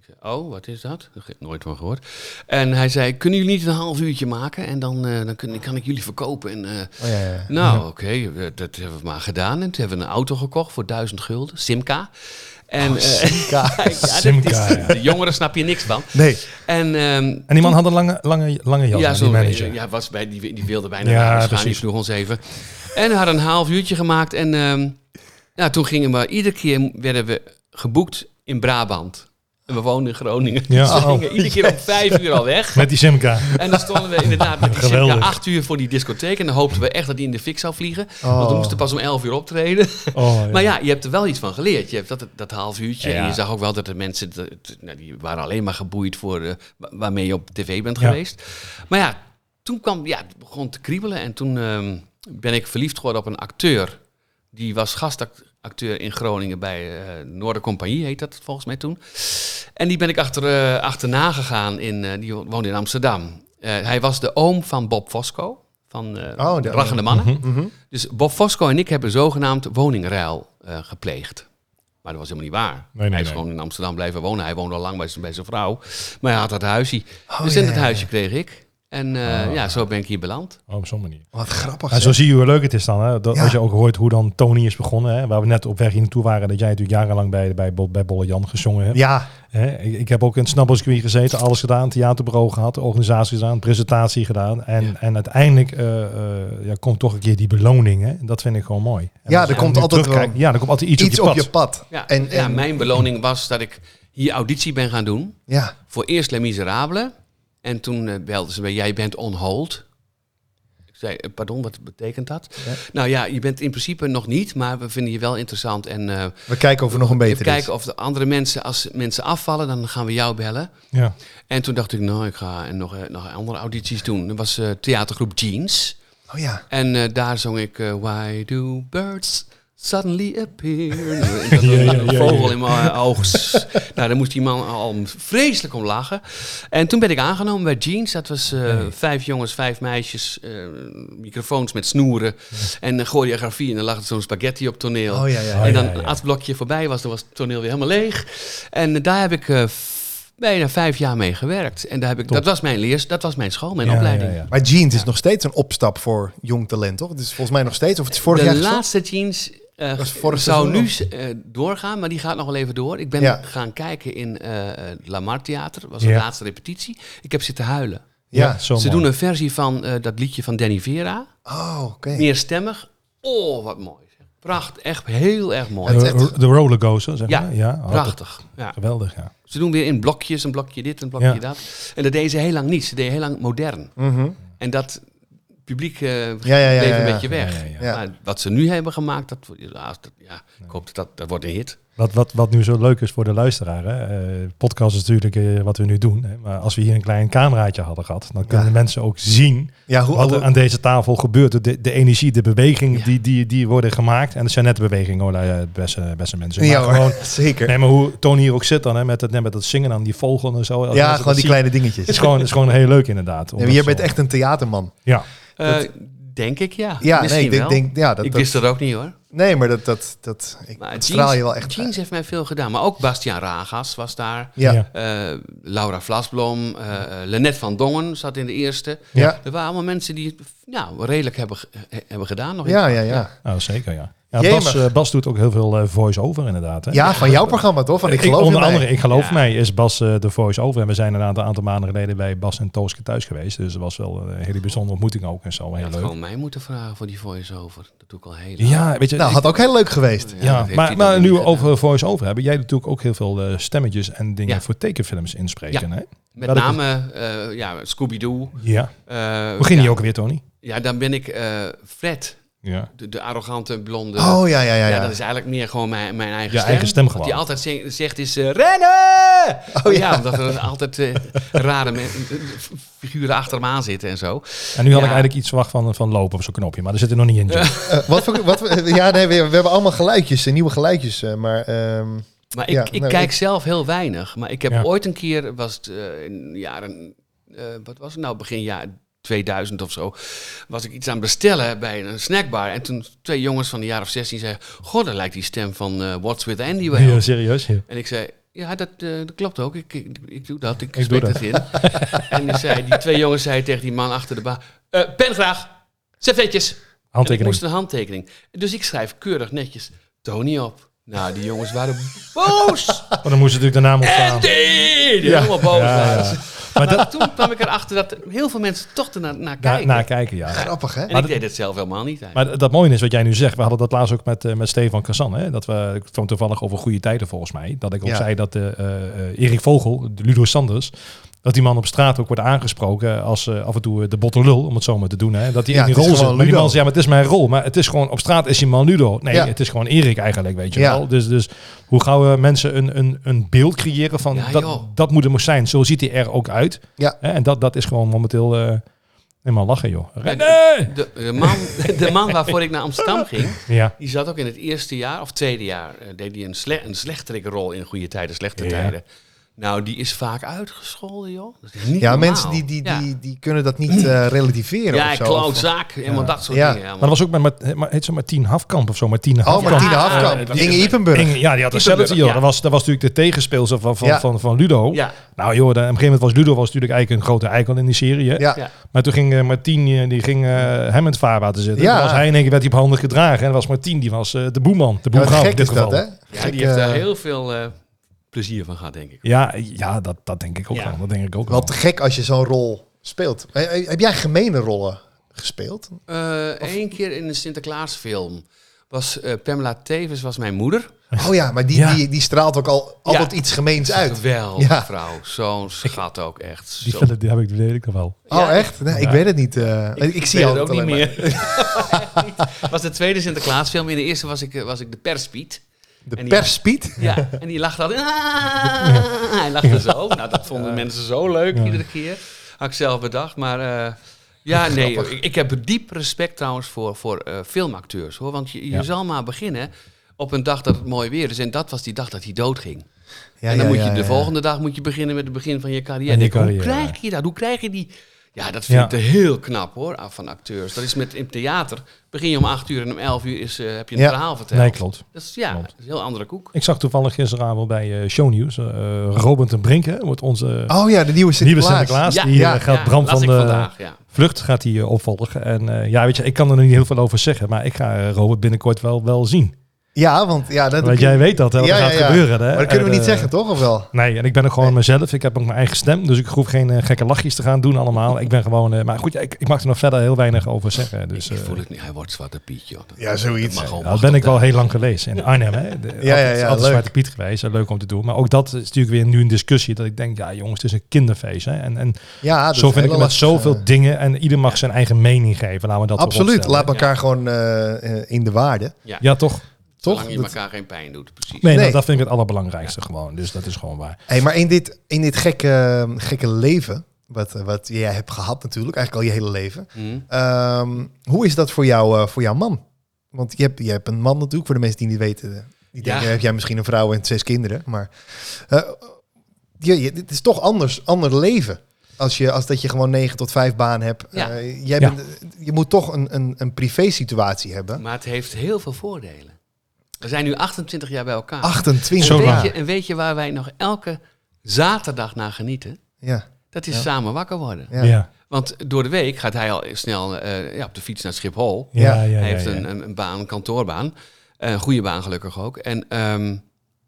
[SPEAKER 4] Ik zei, oh, wat is dat? Daar heb ik nooit van gehoord. En hij zei, kunnen jullie niet een half uurtje maken? En dan, eh, dan kun, kan ik jullie verkopen. En, eh,
[SPEAKER 1] Oh, ja, ja.
[SPEAKER 4] nou, oké, eh, dat hebben we maar gedaan. En toen hebben we een auto gekocht voor duizend gulden, Simca. En, eh,
[SPEAKER 1] Oh, Simca.
[SPEAKER 4] ja, dat is-
[SPEAKER 3] Simca, ja.
[SPEAKER 4] De jongeren snap je niks van.
[SPEAKER 1] Nee,
[SPEAKER 4] En ehm,
[SPEAKER 3] En die man had een lange, lange, lange jas,
[SPEAKER 4] ja,
[SPEAKER 3] aan, die
[SPEAKER 4] zo
[SPEAKER 3] manager.
[SPEAKER 4] Ja, was bij, die, die wilde bijna
[SPEAKER 3] Ja,
[SPEAKER 4] naar huis gaan. Die
[SPEAKER 3] precies.
[SPEAKER 4] sloeg ons even. En we hadden een half uurtje gemaakt. En ehm, ja, toen gingen we... Iedere keer werden we geboekt in Brabant. En we woonden in Groningen.
[SPEAKER 3] Ja.
[SPEAKER 4] Dus we
[SPEAKER 3] Oh.
[SPEAKER 4] gingen iedere keer om vijf uur al weg.
[SPEAKER 3] Met die Simca.
[SPEAKER 4] En dan stonden we inderdaad met die circa
[SPEAKER 3] Geweldig.
[SPEAKER 4] acht uur voor die discotheek. En dan hoopten we echt dat die in de fik zou vliegen. Want we
[SPEAKER 1] Oh.
[SPEAKER 4] moesten pas om elf uur optreden.
[SPEAKER 3] Oh, ja.
[SPEAKER 4] Maar ja, je hebt er wel iets van geleerd. Je hebt dat, dat half uurtje.
[SPEAKER 3] Ja.
[SPEAKER 4] En je zag ook wel dat de mensen, dat- het- nou, die waren alleen maar geboeid voor eh, wa- waarmee je op tv bent
[SPEAKER 3] Ja.
[SPEAKER 4] geweest. Maar ja, toen kwam, ja, het begon te kriebelen. En toen ehm, ben ik verliefd geworden op een acteur. Die was gastacteur in Groningen bij eh Noordercompagnie, heet dat volgens mij toen. En die ben ik achter, eh, achterna gegaan. In, eh, die woonde in Amsterdam. Eh, hij was de oom van Bob Fosco. Van eh
[SPEAKER 1] Oh, de-
[SPEAKER 4] Rachende Mannen.
[SPEAKER 1] Mhm.
[SPEAKER 4] Dus Bob Fosco en ik hebben zogenaamd woningruil eh, gepleegd. Maar dat was helemaal niet waar.
[SPEAKER 3] nee,
[SPEAKER 4] hij is
[SPEAKER 3] nee.
[SPEAKER 4] gewoon in Amsterdam blijven wonen. Hij woonde al lang bij zijn, bij zijn vrouw. Maar hij had dat huisje.
[SPEAKER 1] Oh,
[SPEAKER 4] dus
[SPEAKER 1] ja,
[SPEAKER 4] in dat
[SPEAKER 1] ja,
[SPEAKER 4] huisje kreeg ik. En eh,
[SPEAKER 3] Oh.
[SPEAKER 4] ja, zo ben ik hier beland.
[SPEAKER 3] Oh, op zo'n manier.
[SPEAKER 1] wat grappig.
[SPEAKER 3] Ja, zo
[SPEAKER 1] zeg.
[SPEAKER 3] zie je hoe leuk het is dan. Hè? Dat,
[SPEAKER 1] Ja.
[SPEAKER 3] Als je ook hoort hoe dan Tony is begonnen. Hè? Waar we net op weg hier naartoe waren. Dat jij natuurlijk jarenlang bij, bij, Bo- bij Bolle Jan gezongen hebt.
[SPEAKER 1] ja,
[SPEAKER 3] Hè? Ik, ik heb ook in het snappelscreen gezeten. Alles gedaan. Theaterbureau gehad. Organisatie gedaan. Presentatie gedaan. En, en uiteindelijk eh, eh, ja, komt toch een keer die beloning. Hè? En Dat vind ik gewoon mooi. En
[SPEAKER 1] Ja,
[SPEAKER 3] als
[SPEAKER 1] er
[SPEAKER 3] je
[SPEAKER 1] komt
[SPEAKER 3] nu
[SPEAKER 1] altijd
[SPEAKER 3] terugkijkt,
[SPEAKER 1] wel
[SPEAKER 3] Ja, er komt altijd iets,
[SPEAKER 1] iets,
[SPEAKER 3] op je pad.
[SPEAKER 1] pad.
[SPEAKER 4] Ja,
[SPEAKER 1] En, en,
[SPEAKER 4] ja,
[SPEAKER 1] ja,
[SPEAKER 4] mijn beloning was dat ik hier auditie ben gaan doen. Voor eerst Les Miserables. En toen eh, belden ze me, jij bent on hold. Ik zei, eh, pardon, wat betekent dat?
[SPEAKER 1] Ja.
[SPEAKER 4] Nou ja, je bent in principe nog niet, maar we vinden je wel interessant. En eh,
[SPEAKER 1] we kijken of er nog een
[SPEAKER 4] even
[SPEAKER 1] beter is.
[SPEAKER 4] kijken of de andere mensen, als mensen afvallen, dan gaan we jou bellen.
[SPEAKER 3] Ja.
[SPEAKER 4] En toen dacht ik, nou, ik ga nog, eh, nog andere audities doen. Dat was eh, theatergroep Jeans.
[SPEAKER 1] Oh ja.
[SPEAKER 4] En eh, daar zong ik eh, Why do birds suddenly appear? En dat
[SPEAKER 3] Ja, ja,
[SPEAKER 4] een
[SPEAKER 3] ja,
[SPEAKER 4] vogel
[SPEAKER 3] ja.
[SPEAKER 4] in mijn oog. nou, daar moest die man al vreselijk om lachen. En toen ben ik aangenomen bij Jeans. Dat was eh, vijf jongens, vijf meisjes, eh, microfoons met snoeren en eh, choreografie. En dan lag er zo'n spaghetti op toneel.
[SPEAKER 1] Oh ja, ja.
[SPEAKER 3] Oh,
[SPEAKER 4] en dan
[SPEAKER 3] ja, ja.
[SPEAKER 4] als het blokje voorbij was, dan was het toneel weer helemaal leeg. En daar heb ik eh, f- bijna vijf jaar mee gewerkt. En daar heb ik,
[SPEAKER 3] Top.
[SPEAKER 4] dat was mijn leers, dat was mijn school, mijn
[SPEAKER 3] Ja,
[SPEAKER 4] opleiding.
[SPEAKER 3] ja, ja.
[SPEAKER 1] Maar Jeans is nog steeds een opstap voor jong talent, toch? Het is volgens mij nog steeds, of het is vorig
[SPEAKER 4] de
[SPEAKER 1] jaar gestopt?
[SPEAKER 4] laatste jeans eh,
[SPEAKER 1] Dat is vorig
[SPEAKER 4] zou
[SPEAKER 1] seizoen
[SPEAKER 4] nu eh, doorgaan, maar die gaat nog wel even door. Ik ben
[SPEAKER 1] Ja.
[SPEAKER 4] gaan kijken in eh eh, Lamar Theater. Dat was
[SPEAKER 3] Ja.
[SPEAKER 4] de laatste repetitie. Ik heb zitten huilen.
[SPEAKER 1] Ja.
[SPEAKER 3] zo
[SPEAKER 4] Ze
[SPEAKER 3] mooi.
[SPEAKER 4] doen een versie van eh, dat liedje van Danny Vera.
[SPEAKER 1] Oh, oké.
[SPEAKER 4] Meerstemmig. Oh, wat mooi. zeg. Pracht. Echt heel erg mooi.
[SPEAKER 1] Het-
[SPEAKER 3] De, ro- Eh, de rollercoaster, zeg
[SPEAKER 4] Ja,
[SPEAKER 3] maar. Ja, oh,
[SPEAKER 4] Prachtig. Ja.
[SPEAKER 3] dat- Geweldig, ja.
[SPEAKER 4] Ze doen weer in blokjes, een blokje dit, een blokje
[SPEAKER 3] Ja.
[SPEAKER 4] dat. En dat deden ze heel lang niet. Ze deden heel lang modern.
[SPEAKER 1] Mhm.
[SPEAKER 4] En dat publiek eh
[SPEAKER 1] Ja, ja, ja,
[SPEAKER 4] bleef
[SPEAKER 1] ja,
[SPEAKER 4] een
[SPEAKER 1] ja.
[SPEAKER 4] beetje weg.
[SPEAKER 3] Ja, ja, ja.
[SPEAKER 1] Ja.
[SPEAKER 4] Maar wat ze nu hebben gemaakt, dat, ja, dat- ja, ik hoop dat dat, dat wordt een hit.
[SPEAKER 3] Wat, wat, wat nu zo leuk is voor de luisteraar. Hè? eh, podcast is natuurlijk eh, wat we nu doen. Hè? Maar als we hier een klein cameraatje hadden gehad, dan kunnen
[SPEAKER 1] Ja.
[SPEAKER 3] de mensen ook zien
[SPEAKER 1] Ja, hoe,
[SPEAKER 3] wat er
[SPEAKER 1] hoe,
[SPEAKER 3] aan deze tafel gebeurt. De, de energie, de bewegingen
[SPEAKER 4] Ja.
[SPEAKER 3] die, die, die worden gemaakt. En dat zijn net bewegingen hoor, eh, beste, beste mensen.
[SPEAKER 1] ja,
[SPEAKER 3] Maar gewoon,
[SPEAKER 1] hoor, zeker.
[SPEAKER 3] nee, maar hoe Tony hier ook zit dan, hè, met, het, net met dat zingen aan die vogel en zo. Als mensen
[SPEAKER 1] ja,
[SPEAKER 3] dat
[SPEAKER 1] gewoon die
[SPEAKER 3] zien,
[SPEAKER 1] kleine dingetjes.
[SPEAKER 3] is gewoon, is gewoon heel leuk inderdaad. om
[SPEAKER 1] Ja,
[SPEAKER 3] dat
[SPEAKER 1] maar jij
[SPEAKER 3] zo-
[SPEAKER 1] bent echt een theaterman.
[SPEAKER 3] Ja,
[SPEAKER 4] Eh, denk ik, ja.
[SPEAKER 1] Ja,
[SPEAKER 4] Misschien
[SPEAKER 1] nee, ik denk,
[SPEAKER 4] wel.
[SPEAKER 1] denk- ja, dat,
[SPEAKER 4] ik
[SPEAKER 1] dat-
[SPEAKER 4] wist dat ook niet hoor.
[SPEAKER 1] nee, maar dat, dat, dat, ik, dat
[SPEAKER 4] Maar jeans,
[SPEAKER 1] straal je wel echt.
[SPEAKER 4] Jeans
[SPEAKER 1] uit.
[SPEAKER 4] heeft mij veel gedaan. Maar ook Bastiaan Ragas was daar.
[SPEAKER 1] Ja, ja.
[SPEAKER 3] Ja.
[SPEAKER 4] Eh, Laura Vlasblom. eh eh, Lennet van Dongen zat in de eerste.
[SPEAKER 1] Ja.
[SPEAKER 4] Er waren allemaal mensen die het nou, redelijk hebben, ge- eh, hebben gedaan. Nog in-
[SPEAKER 1] Ja, ja, ja.
[SPEAKER 3] nou, zeker ja. ja
[SPEAKER 1] Jemig.
[SPEAKER 3] Bas, eh, Bas doet ook heel veel eh, voice-over inderdaad. Hè?
[SPEAKER 1] van jouw programma toch? Van ik
[SPEAKER 3] Ik-
[SPEAKER 1] geloof
[SPEAKER 3] onder
[SPEAKER 1] in mij.
[SPEAKER 3] andere, ik geloof
[SPEAKER 4] Ja.
[SPEAKER 3] mij, is Bas eh, de voice-over. En we zijn een aantal, aantal maanden geleden bij Bas en Tooske thuis geweest. Dus dat was wel een hele bijzondere ontmoeting ook en zo.
[SPEAKER 4] Je
[SPEAKER 3] Heel
[SPEAKER 4] had
[SPEAKER 3] leuk.
[SPEAKER 4] gewoon mij moeten vragen voor die voice-over. Dat doe ik al heel lang.
[SPEAKER 3] Ja, weet je,
[SPEAKER 1] Nou,
[SPEAKER 3] ik-
[SPEAKER 1] had ook heel leuk geweest.
[SPEAKER 4] Ja, dat
[SPEAKER 3] ja,
[SPEAKER 4] heeft hij
[SPEAKER 3] maar, maar nu
[SPEAKER 4] dan niet
[SPEAKER 3] we
[SPEAKER 4] gedaan.
[SPEAKER 3] over voice-over hebben, jij doet natuurlijk ook heel veel eh, stemmetjes en dingen
[SPEAKER 4] Ja.
[SPEAKER 3] voor tekenfilms inspreken. Hè?
[SPEAKER 4] Met
[SPEAKER 3] Welke-
[SPEAKER 4] name eh, ja, Scooby-Doo.
[SPEAKER 3] Ja.
[SPEAKER 4] eh,
[SPEAKER 3] Begin
[SPEAKER 4] ja.
[SPEAKER 3] je ook weer, Tony?
[SPEAKER 4] Ja, dan ben ik eh, Fred.
[SPEAKER 3] Ja.
[SPEAKER 4] De, de arrogante blonde.
[SPEAKER 1] Oh ja, ja, ja.
[SPEAKER 4] Ja,
[SPEAKER 1] ja.
[SPEAKER 4] dat is eigenlijk meer gewoon mijn, mijn eigen
[SPEAKER 3] Je
[SPEAKER 4] stem.
[SPEAKER 3] eigen stem
[SPEAKER 4] Wat
[SPEAKER 3] gewoon.
[SPEAKER 4] die altijd zing- zegt is, eh, rennen!
[SPEAKER 1] Oh,
[SPEAKER 4] Oh
[SPEAKER 1] ja.
[SPEAKER 4] ja, omdat er altijd eh, rare men- f- figuren achter hem aan zitten en zo.
[SPEAKER 3] En nu had
[SPEAKER 4] Ja.
[SPEAKER 3] ik eigenlijk iets verwacht van, van lopen op zo'n knopje, maar er zit er nog niet in. Jim.
[SPEAKER 1] Eh, wat voor, wat, voor- ja, nee, we, we hebben allemaal geluidjes, eh, nieuwe geluidjes. eh, Maar ehm,
[SPEAKER 4] Maar ik,
[SPEAKER 1] Ja,
[SPEAKER 4] ik
[SPEAKER 1] nou,
[SPEAKER 4] kijk
[SPEAKER 1] ik-
[SPEAKER 4] zelf heel weinig. Maar ik heb
[SPEAKER 3] Ja.
[SPEAKER 4] ooit een keer, was het eh, in de jaren, eh, wat was het nou, begin jaar 2000 of zo, was ik iets aan het bestellen bij een snackbar. En toen twee jongens van de jaar of 16 zeiden, god, dat lijkt die stem van eh, What's With Andy wel.
[SPEAKER 3] Ja, serieus. Ja.
[SPEAKER 4] En ik zei, ja, dat, eh, dat klopt ook. Ik, ik, ik doe dat. Ik,
[SPEAKER 3] doe
[SPEAKER 4] spreek
[SPEAKER 3] dat.
[SPEAKER 4] dat in. en die, zei, die twee jongens zeiden tegen die man achter de baan... eh pen graag. Servetjes. En ik
[SPEAKER 3] Handtekening.
[SPEAKER 4] moest een handtekening. Dus ik schrijf keurig netjes Tony op. Nou, die jongens waren boos.
[SPEAKER 3] Maar Oh, dan moest natuurlijk de naam ontstaan.
[SPEAKER 4] en die, die helemaal boos
[SPEAKER 3] Ja, ja.
[SPEAKER 4] waren.
[SPEAKER 3] Maar
[SPEAKER 4] Maar
[SPEAKER 3] dat,
[SPEAKER 4] toen kwam ik erachter dat heel veel mensen toch ernaar naar
[SPEAKER 3] na,
[SPEAKER 4] kijken.
[SPEAKER 3] na kijken, ja.
[SPEAKER 1] grappig, hè?
[SPEAKER 4] en
[SPEAKER 3] maar
[SPEAKER 4] ik
[SPEAKER 3] dat-
[SPEAKER 4] deed het zelf helemaal niet. eigenlijk.
[SPEAKER 3] Maar dat- dat mooie is wat jij nu zegt. We hadden dat laatst ook met, eh, met Stefan Kazan. Hè? Dat we ik vond toevallig over goede tijden volgens mij. Dat ik ook
[SPEAKER 1] Ja.
[SPEAKER 3] zei dat eh, eh, eh, Erik Vogel, de Ludo Sanders, dat die man op straat ook wordt aangesproken als eh, af en toe eh, de botte lul, om het zo maar te doen. Hè? Dat hij
[SPEAKER 1] Ja,
[SPEAKER 3] in die
[SPEAKER 1] het is
[SPEAKER 3] rol zit.
[SPEAKER 1] gewoon
[SPEAKER 3] Maar die
[SPEAKER 1] Ludo.
[SPEAKER 3] man zegt, ja, maar het is mijn rol. Maar het is gewoon, op straat is die man Ludo. Nee,
[SPEAKER 1] Ja.
[SPEAKER 3] het is gewoon Erik eigenlijk, weet je
[SPEAKER 1] Ja.
[SPEAKER 3] wel. Dus, dus hoe gauw eh, mensen een, een, een beeld creëren van
[SPEAKER 4] Ja,
[SPEAKER 3] dat,
[SPEAKER 4] joh.
[SPEAKER 3] dat moet hem ook zijn. Zo ziet hij er ook uit.
[SPEAKER 1] Ja.
[SPEAKER 3] Hè? En dat, dat is gewoon momenteel... eh, Helemaal lachen, joh.
[SPEAKER 4] En
[SPEAKER 3] Rennen!
[SPEAKER 4] de, de, man, de man waarvoor ik naar Amsterdam ging,
[SPEAKER 3] Ja.
[SPEAKER 4] Die zat ook in het eerste jaar of tweede jaar. eh, deed hij een, sle een slechterik rol in goede tijden, slechte
[SPEAKER 3] Ja.
[SPEAKER 4] tijden. Nou, die is vaak uitgescholden, joh. Dat is niet
[SPEAKER 1] Ja,
[SPEAKER 4] normaal.
[SPEAKER 1] mensen die, die,
[SPEAKER 4] Ja.
[SPEAKER 1] die, die kunnen dat niet eh, relativeren
[SPEAKER 4] Ja,
[SPEAKER 1] of zo.
[SPEAKER 4] klootzak, helemaal dat soort
[SPEAKER 1] Ja.
[SPEAKER 4] dingen. Ja,
[SPEAKER 3] Maar dat was ook met, met, met heet ze Martien Hafkamp of zo. Martien
[SPEAKER 1] Oh,
[SPEAKER 3] Hafkamp.
[SPEAKER 1] Martine
[SPEAKER 4] Ja,
[SPEAKER 1] Hafkamp.
[SPEAKER 3] eh,
[SPEAKER 1] Inge Ipenburg.
[SPEAKER 3] Inge- ja, die had hetzelfde.
[SPEAKER 4] Ipenburg,
[SPEAKER 3] joh.
[SPEAKER 4] ja.
[SPEAKER 3] Dat, was, dat was natuurlijk de tegenspeelster van, van,
[SPEAKER 1] Ja.
[SPEAKER 3] van, van Ludo.
[SPEAKER 4] ja.
[SPEAKER 3] Nou joh, dan, op een gegeven moment was Ludo was natuurlijk eigenlijk een grote icon in die serie. hè.
[SPEAKER 1] ja.
[SPEAKER 4] ja.
[SPEAKER 3] Maar toen ging eh, Martien eh, die ging, eh, hem in het vaarwater zitten.
[SPEAKER 1] Ja.
[SPEAKER 3] Toen was hij in één keer werd hij op handen gedragen. En dat was Martien, die was eh, de boeman. De
[SPEAKER 1] Ja, wat
[SPEAKER 3] boeman
[SPEAKER 1] gek is dat, hè?
[SPEAKER 4] Ja,
[SPEAKER 1] Gek,
[SPEAKER 4] die heeft daar
[SPEAKER 1] eh,
[SPEAKER 4] heel veel eh, plezier van gehad, denk ik.
[SPEAKER 3] Ja, ja dat, dat denk ik ook
[SPEAKER 4] Ja.
[SPEAKER 3] wel. Dat denk ik ook
[SPEAKER 1] Wel
[SPEAKER 3] wel.
[SPEAKER 1] te gek als je zo'n rol speelt. Eh, eh, Heb jij gemene rollen gespeeld?
[SPEAKER 4] Eén Eh, keer in een Sinterklaasfilm was eh, Pamela Tevens was mijn moeder.
[SPEAKER 1] Oh ja, maar die,
[SPEAKER 3] Ja.
[SPEAKER 1] die, die straalt ook al altijd iets gemeens uit.
[SPEAKER 4] Geweldig
[SPEAKER 1] Ja.
[SPEAKER 4] vrouw, zo'n schat ook echt.
[SPEAKER 3] Die,
[SPEAKER 4] Zo.
[SPEAKER 3] film, die heb ik, die weet ik nog wel.
[SPEAKER 1] Oh,
[SPEAKER 4] Ja,
[SPEAKER 1] echt? Nee, ik weet het niet. eh, ik, ik zie
[SPEAKER 4] weet
[SPEAKER 1] jou
[SPEAKER 4] het ook niet meer. Het was de tweede Sinterklaasfilm. In de eerste was ik, eh, was ik de perspiet.
[SPEAKER 1] De
[SPEAKER 4] En die-
[SPEAKER 1] perspiet?
[SPEAKER 4] Ja, en die lachte altijd. "Ah." Hij lachte zo. Nou, dat vonden mensen zo leuk
[SPEAKER 3] Ja.
[SPEAKER 4] iedere keer. Had ik zelf bedacht. Maar eh, ja, nee, ik, ik heb diep respect trouwens voor, voor eh, filmacteurs. hoor. Want je, je
[SPEAKER 3] Ja.
[SPEAKER 4] zal maar beginnen op een dag dat het mooi weer is. En dat was die dag dat hij doodging.
[SPEAKER 1] Ja,
[SPEAKER 4] en
[SPEAKER 1] ja,
[SPEAKER 4] dan moet je
[SPEAKER 1] ja,
[SPEAKER 4] de
[SPEAKER 1] ja.
[SPEAKER 4] volgende dag moet je beginnen met het begin van je carrière.
[SPEAKER 3] Van je
[SPEAKER 4] Ik denk,
[SPEAKER 3] carrière,
[SPEAKER 4] Hoe
[SPEAKER 3] ja.
[SPEAKER 4] krijg je dat? Hoe krijg je die... Ja, dat vind
[SPEAKER 3] Ja.
[SPEAKER 4] ik te heel knap hoor, af van acteurs. Dat is met in theater. Begin je om acht uur en om elf uur is, eh, heb je een
[SPEAKER 1] Ja.
[SPEAKER 4] verhaal verteld.
[SPEAKER 3] Nee, klopt.
[SPEAKER 4] Dat is, ja,
[SPEAKER 3] Klopt.
[SPEAKER 4] dat is een heel andere koek.
[SPEAKER 3] Ik zag toevallig gisteravond bij eh Show News. eh Robert en Brinken wordt onze
[SPEAKER 1] Oh ja, de nieuwe
[SPEAKER 3] nieuwe
[SPEAKER 1] Sinterklaas.
[SPEAKER 3] Sinterklaas.
[SPEAKER 4] Ja,
[SPEAKER 3] die
[SPEAKER 1] ja,
[SPEAKER 3] eh, gaat
[SPEAKER 4] Ja,
[SPEAKER 3] Bram
[SPEAKER 4] las
[SPEAKER 3] van
[SPEAKER 4] ik
[SPEAKER 3] de
[SPEAKER 4] vandaag, ja.
[SPEAKER 3] Vlucht gaat hij eh, opvolgen. En eh, ja, weet je, ik kan er nog niet heel veel over zeggen. Maar ik ga eh, Robert binnenkort wel, wel zien.
[SPEAKER 1] Ja, want ja, dat
[SPEAKER 3] Want jij weet dat, hè, wat
[SPEAKER 1] Ja,
[SPEAKER 3] er gaat
[SPEAKER 1] ja, ja.
[SPEAKER 3] gebeuren. Hè?
[SPEAKER 1] Maar dat kunnen we
[SPEAKER 3] En,
[SPEAKER 1] niet
[SPEAKER 3] eh,
[SPEAKER 1] zeggen, toch? Of wel?
[SPEAKER 3] Nee, en ik ben ook gewoon mezelf. Ik heb ook mijn eigen stem. Dus ik hoef geen eh, gekke lachjes te gaan doen allemaal. ik ben gewoon... eh, maar goed, ja, ik, ik mag er nog verder heel weinig over zeggen. Dus,
[SPEAKER 4] ik
[SPEAKER 3] eh,
[SPEAKER 4] voel het niet. Hij wordt Zwarte Piet, joh. Dat-
[SPEAKER 1] Ja, zoiets.
[SPEAKER 4] dat mag gewoon
[SPEAKER 3] Nou, dat
[SPEAKER 4] wachten
[SPEAKER 3] ben ik
[SPEAKER 4] op
[SPEAKER 3] wel heel lang geweest. In Arnhem, hè? De,
[SPEAKER 1] ja, ja,
[SPEAKER 3] altijd, altijd
[SPEAKER 1] leuk.
[SPEAKER 3] Zwarte Piet geweest. eh, Leuk om te doen. Maar ook dat is natuurlijk weer nu een discussie. Dat ik denk, ja jongens, het is een kinderfeest. Hè? En, en
[SPEAKER 1] Ja, dat
[SPEAKER 3] zo
[SPEAKER 1] is
[SPEAKER 3] vind ik
[SPEAKER 1] heel
[SPEAKER 3] het met
[SPEAKER 1] lastig,
[SPEAKER 3] zoveel
[SPEAKER 1] eh.
[SPEAKER 3] dingen. En ieder mag zijn eigen mening geven. Laten we dat
[SPEAKER 1] Absoluut,
[SPEAKER 3] vooropstellen.
[SPEAKER 1] laat elkaar gewoon eh, eh, in de waarde.
[SPEAKER 4] dat.
[SPEAKER 3] Ja, toch?
[SPEAKER 1] Toch?
[SPEAKER 4] Zolang je
[SPEAKER 1] Dat-
[SPEAKER 4] elkaar geen pijn doet, precies.
[SPEAKER 3] Nee, nou,
[SPEAKER 1] Nee.
[SPEAKER 3] dat vind ik het allerbelangrijkste gewoon. Dus dat is gewoon waar.
[SPEAKER 1] Hey, maar in dit, in dit gekke, gekke leven, wat, eh, wat jij hebt gehad natuurlijk, eigenlijk al je hele leven.
[SPEAKER 4] Hm?
[SPEAKER 1] ehm, hoe is dat voor, jou, eh, voor jouw man? Want je hebt, je hebt een man natuurlijk, voor de mensen die niet weten. eh, Die
[SPEAKER 4] Ja.
[SPEAKER 1] denken, heb jij misschien een vrouw en zes kinderen. Maar eh, je, je- dit is toch anders, ander leven. Als, je, als dat je gewoon negen tot vijf baan hebt.
[SPEAKER 4] Ja.
[SPEAKER 1] Eh, jij
[SPEAKER 3] Ja.
[SPEAKER 1] bent, je moet toch een, een, een privé situatie hebben.
[SPEAKER 4] Maar het heeft heel veel voordelen. We zijn nu 28 jaar bij elkaar.
[SPEAKER 1] 28
[SPEAKER 3] Zo
[SPEAKER 4] en, weet
[SPEAKER 3] waar.
[SPEAKER 4] je, en weet je waar wij nog elke zaterdag naar genieten?
[SPEAKER 1] Ja,
[SPEAKER 4] Dat is
[SPEAKER 1] Ja.
[SPEAKER 4] samen wakker worden.
[SPEAKER 1] ja.
[SPEAKER 3] Ja.
[SPEAKER 4] Want door de week gaat hij al snel eh, ja, op de fiets naar Schiphol.
[SPEAKER 3] Ja, ja, ja.
[SPEAKER 4] hij heeft
[SPEAKER 3] ja.
[SPEAKER 4] Een, een, een baan, een kantoorbaan. Eh, Een goede baan gelukkig ook. En ehm,